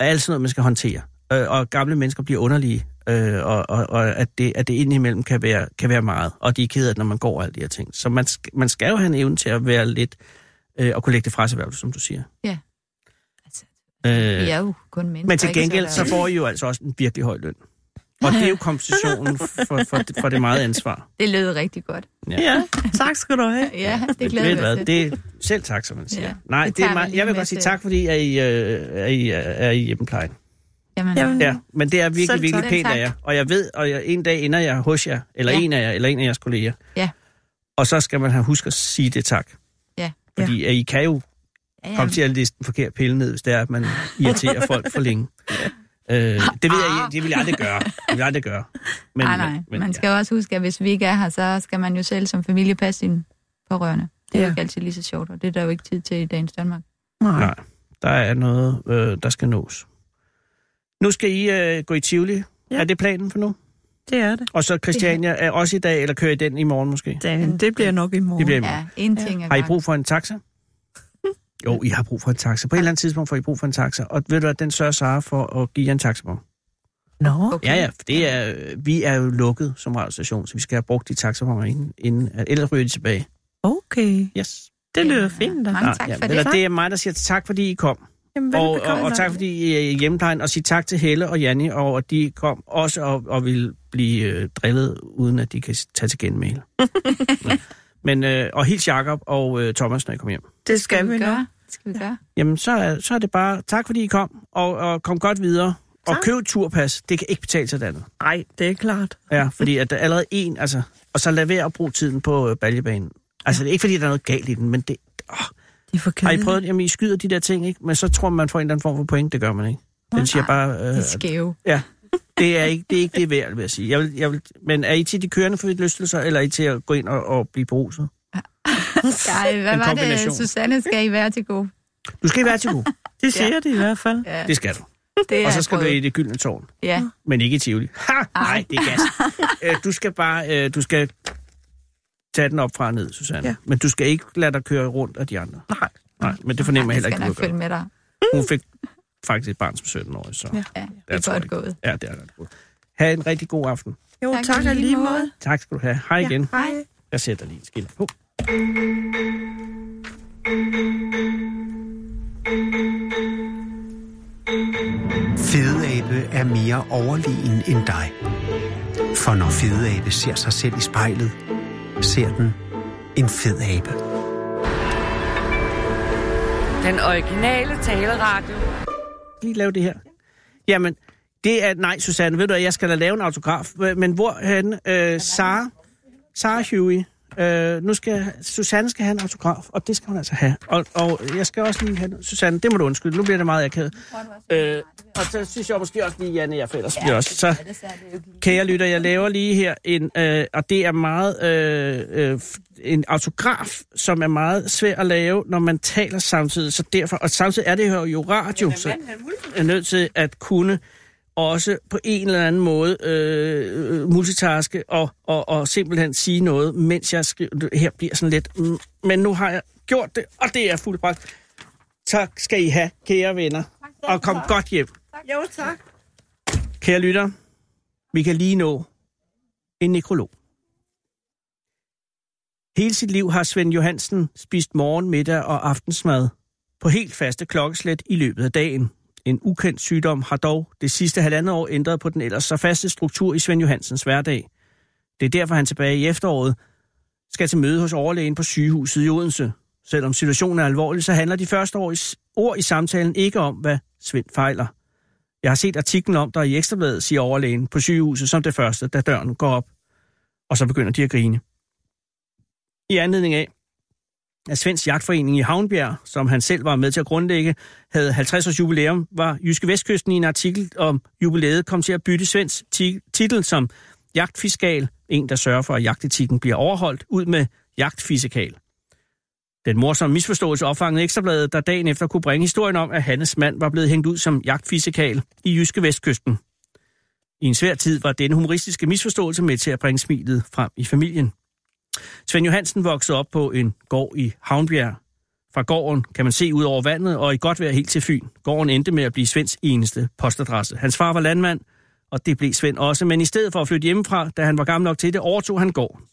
S3: og alt sådan noget, man skal håndtere. Øh, og gamle mennesker bliver underlige, øh, og, og, og at, det, at det indimellem kan være, kan være meget, og de er ked af det, når man går og alle de her ting. Så man, sk- man skal jo have en evne til at være lidt, øh, og kunne lægge det fra sig, hvad du- som du siger.
S9: Altså,
S3: Øh,
S9: vi er jo kun mennesker,
S3: men til
S9: ikke?
S3: gengæld,
S9: der-
S3: så får I jo altså også en virkelig høj løn. Og
S9: *laughs*
S3: det er jo kompensationen for, for, det- for det meget ansvar.
S9: Det lød rigtig godt.
S8: Ja, tak skal du have.
S9: Ja, *laughs* det
S3: Ved
S9: glæder
S3: du
S9: jeg
S3: hvad,
S9: til.
S3: det er selv tak, som man siger.
S9: Ja,
S3: Nej,
S9: det
S3: det er
S9: tager vi
S3: meget,
S9: lige
S3: jeg vil
S9: med
S3: godt sige
S9: til-
S3: tak, fordi at I, øh, er I, øh, er I hjemmeplejen.
S9: Jamen,
S8: Jamen,
S3: Ja, men det er virkelig,
S8: Selv
S3: virkelig
S9: tak.
S3: pænt af
S9: Selv
S3: jer.
S9: tak.
S3: Og jeg ved, og jeg, en dag ender jeg hos jer, eller ja.
S9: Ja.
S3: en af jer, eller en af jeres kolleger.
S9: Ja.
S3: Og så skal man have husk at sige det tak.
S9: Ja.
S3: Fordi ja. I kan jo
S9: ja, ja.
S3: komme til at liste den forkerte pille ned, hvis det er, at man
S9: *laughs*
S3: irriterer folk for længe. Øh, det, ved jeg, det vil jeg aldrig gøre. Det vil jeg aldrig gøre.
S9: Men, Ah. nej, nej. Men, man
S3: ja.
S9: skal jo også huske, at hvis vi ikke er her, så skal man jo selv som familie passe sine pårørende. Det er
S8: Ja.
S9: jo ikke altid lige så sjovt, og det er der jo ikke tid til i dagens Danmark.
S8: Nej.
S3: Nej, der er noget, øh, der skal nås. Nu skal I øh, gå i Tivoli. Ja.
S8: Ja.
S3: Er det planen for nu?
S8: Det er det.
S3: Og så Christiania er også i dag, eller kører I den i morgen måske?
S8: Det, det bliver nok i morgen.
S3: Det bliver i morgen.
S9: Ja, en ting er
S3: Har I
S9: godt.
S3: brug for en taxa?
S9: *laughs*
S3: Jo, I har brug for en taxa. På et eller andet tidspunkt får I brug for en taxa. Og ved du hvad, den sørger Sara for at give jer en taxabon.
S8: Nå,
S9: Okay.
S3: Ja, ja, for det er, øh, vi er jo lukket som radiostation, så vi skal have brugt de taxaboner inden, inden ellers ryger de tilbage.
S8: okay.
S3: Yes.
S8: Det
S9: Ja,
S8: lyder fint da.
S9: mange tak for
S3: Eller
S9: det.
S3: det er mig, der siger tak, fordi I kom.
S8: Jamen,
S3: Og,
S8: velbekomme,
S3: og, og tak,
S8: Lars.
S3: fordi I er i hjemmeplejen. Og sig tak til Helle og Janni, og at de kom
S9: *laughs*
S3: også og, og ville blive øh, drillet, uden at de kan s- tage til genmæle. Ja. Men, øh, og hils Jakob og øh, Thomas, når I kommer hjem.
S8: Det skal vi nok.
S9: gøre? Skal vi gøre?
S3: Jamen, så er, så er det bare, tak fordi I kom, og, og kom godt videre. Og
S8: Tak.
S3: køb et turpas, det kan ikke betale sig det andet.
S8: Nej, det er klart.
S3: Ja, fordi at der er allerede en, altså, og så lad være at bruge tiden på øh, baljebanen. Altså, det er ikke fordi, der er noget galt i den, men det... Åh,
S8: Det er for
S3: har I
S8: kedeligt.
S3: prøvet, jamen, I skyder de der ting, ikke? Men så tror man, man får en eller anden form for point, det gør man ikke. Den siger bare, øh,
S9: Det er skæve.
S3: ja, det er ikke det, er ikke det værd, vil jeg sige. Jeg vil, jeg vil, men er I til de kørende for lystelser, eller er I til at gå ind og, og blive bruset?
S9: Ej, hvad
S3: En
S9: var
S3: kombination.
S9: det, Susanne skal I være til gode?
S3: Du skal i være til god.
S8: *laughs* Det siger ja. det i hvert fald.
S9: Ja,
S3: Det skal du.
S9: det
S3: Og
S9: er
S3: så skal du
S9: både-
S3: i det gyldne tårn.
S9: Ja,
S3: Men ikke i Tivoli. Ha! Nej, det er gas.
S9: *laughs*
S3: Øh, du skal bare, øh, du skal tage den op fra og ned, Susanne. Ja.
S8: Ja.
S3: Men du skal ikke lade dig køre rundt af de andre.
S8: Nej.
S3: Nej, men det fornemmer jeg heller ikke,
S9: jeg skal
S3: du
S9: nok
S3: gør.
S9: følge med dig.
S3: Hun fik faktisk et barn som 17 år, så ja.
S9: Ja, det
S3: Jeg
S9: er
S3: tror
S9: godt
S3: ikke.
S9: gået.
S3: ja, det er godt. gået. Ha' en rigtig god aften.
S8: Jo, tak,
S9: Tak,
S8: tak
S9: i
S8: og
S9: lige
S8: lige
S9: måde.
S8: måde.
S3: Tak skal du have. Hej igen. Ja.
S8: Hej.
S3: Jeg sætter lige en skilt på.
S1: Fedeabe er mere overlegen end dig. For når fedeabe ser sig selv i spejlet, ser den en fed abe.
S10: Den originale taleradio.
S3: Lige lave det her. Jamen, det er... Nej, Susanne, ved du hvad, jeg skal da lave en autograf. Men hvor han? Øh, Sara, Sara Huey. Øh, nu skal Susanne skal have en autograf, og det skal hun altså have. Og, og jeg skal også lige have... Susanne, det må du undskylde. Nu bliver det meget akavet. Øh, og så synes jeg måske også lige, Janne, jeg for ellers bliver også... Så, Kære lytter, jeg laver lige her en, øh, og det er meget øh, øh, f- en autograf, som er meget svær at lave, når man taler samtidig. Så derfor, og samtidig er det her jo radio, så jeg er nødt til at kunne også på en eller anden måde øh, øh, multitaske og, og, og simpelthen sige noget, mens jeg skriver. Her bliver sådan lidt, mm, men nu har jeg gjort det, og det er fuldbragt. Tak skal I have, kære venner, og kom godt hjem.
S8: Jo, tak.
S3: Kære lytter, vi kan lige nå en nekrolog. Hele sit liv har Svend Johansen spist morgen, middag og aftensmad på helt faste klokkeslæt i løbet af dagen. En ukendt sygdom har dog det sidste halvandet år ændret på den ellers så faste struktur i Svend Johansens hverdag. Det er derfor, han tilbage i efteråret skal til møde hos overlægen på sygehuset i Odense. Selvom situationen er alvorlig, så handler de første år i, ord i samtalen ikke om, hvad Svend fejler. Jeg har set artiklen om dig i Ekstrabladet, siger overlægen på sygehuset som det første, da døren går op. Og så begynder de at grine. I anledning af, at Svends Jagtforening i Havnbjerg, som han selv var med til at grundlægge, havde 50 års jubilæum, var Jyske Vestkysten i en artikel om jubilæet kom til at bytte Svends ti- titel som jagtfiskal, en der sørger for, at jagtetikken bliver overholdt, ud med jagtfisikal. Den morsomme misforståelse opfangede Ekstrabladet, der dagen efter kunne bringe historien om, at Hannes mand var blevet hængt ud som jagtfisikal i Jyske Vestkysten. I en svær tid var denne humoristiske misforståelse med til at bringe smilet frem i familien. Svend Johansen voksede op på en gård i Havnbjerg. Fra gården kan man se ud over vandet og i godt vejr helt til Fyn. Gården endte med at blive Svends eneste postadresse. Hans far var landmand, og det blev Svend også, men i stedet for at flytte hjemmefra, da han var gammel nok til det, overtog han gården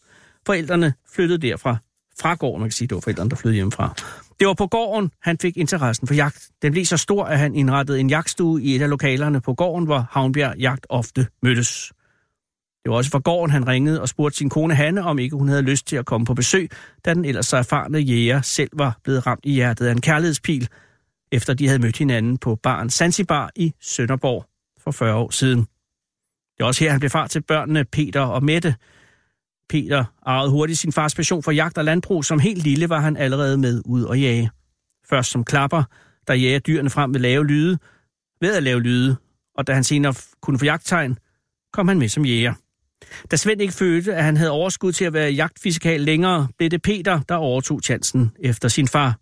S3: forældrene flyttede derfra. Fra gården, man kan sige, det var forældrene, der flyttede hjemmefra. Det var på gården, han fik interessen for jagt. Den blev så stor, at han indrettede en jagtstue i et af lokalerne på gården, hvor Havnbjerg Jagt ofte mødtes. Det var også fra gården, han ringede og spurgte sin kone Hanne, om ikke hun havde lyst til at komme på besøg, da den ellers så erfarne jæger selv var blevet ramt i hjertet af en kærlighedspil, efter de havde mødt hinanden på baren Sansibar i Sønderborg for 40 år siden. Det er også her, han blev far til børnene Peter og Mette. Peter arvede hurtigt sin fars passion for jagt og landbrug. Som helt lille var han allerede med ud og jage. Først som klapper, der jager dyrene frem ved lave lyde, ved at lave lyde, og da han senere f- kunne få jagttegn, kom han med som jæger. Da Svend ikke følte, at han havde overskud til at være jagtfiskal længere, blev det Peter, der overtog chancen efter sin far.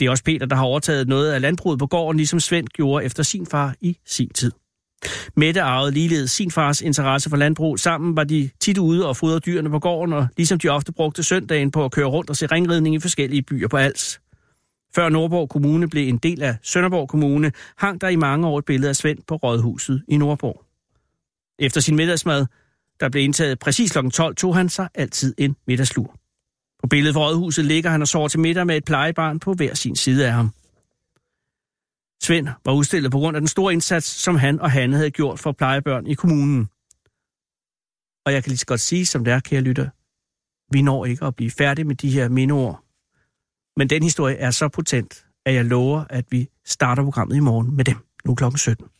S3: Det er også Peter, der har overtaget noget af landbruget på gården, ligesom Svend gjorde efter sin far i sin tid. Mette arvede ligeledes sin fars interesse for landbrug. Sammen var de tit ude og fodrede dyrene på gården, og ligesom de ofte brugte søndagen på at køre rundt og se ringridning i forskellige byer på Als. Før Nordborg Kommune blev en del af Sønderborg Kommune, hang der i mange år et billede af Svend på Rådhuset i Nordborg. Efter sin middagsmad, der blev indtaget præcis kl. 12, tog han sig altid en middagslur. På billedet fra Rådhuset ligger han og sover til middag med et plejebarn på hver sin side af ham. Svend var udstillet på grund af den store indsats, som han og Hanne havde gjort for plejebørn i kommunen. Og jeg kan lige så godt sige, som det er, kære lytter, vi når ikke at blive færdige med de her mindeord. Men den historie er så potent, at jeg lover, at vi starter programmet i morgen med dem. Nu klokken 17.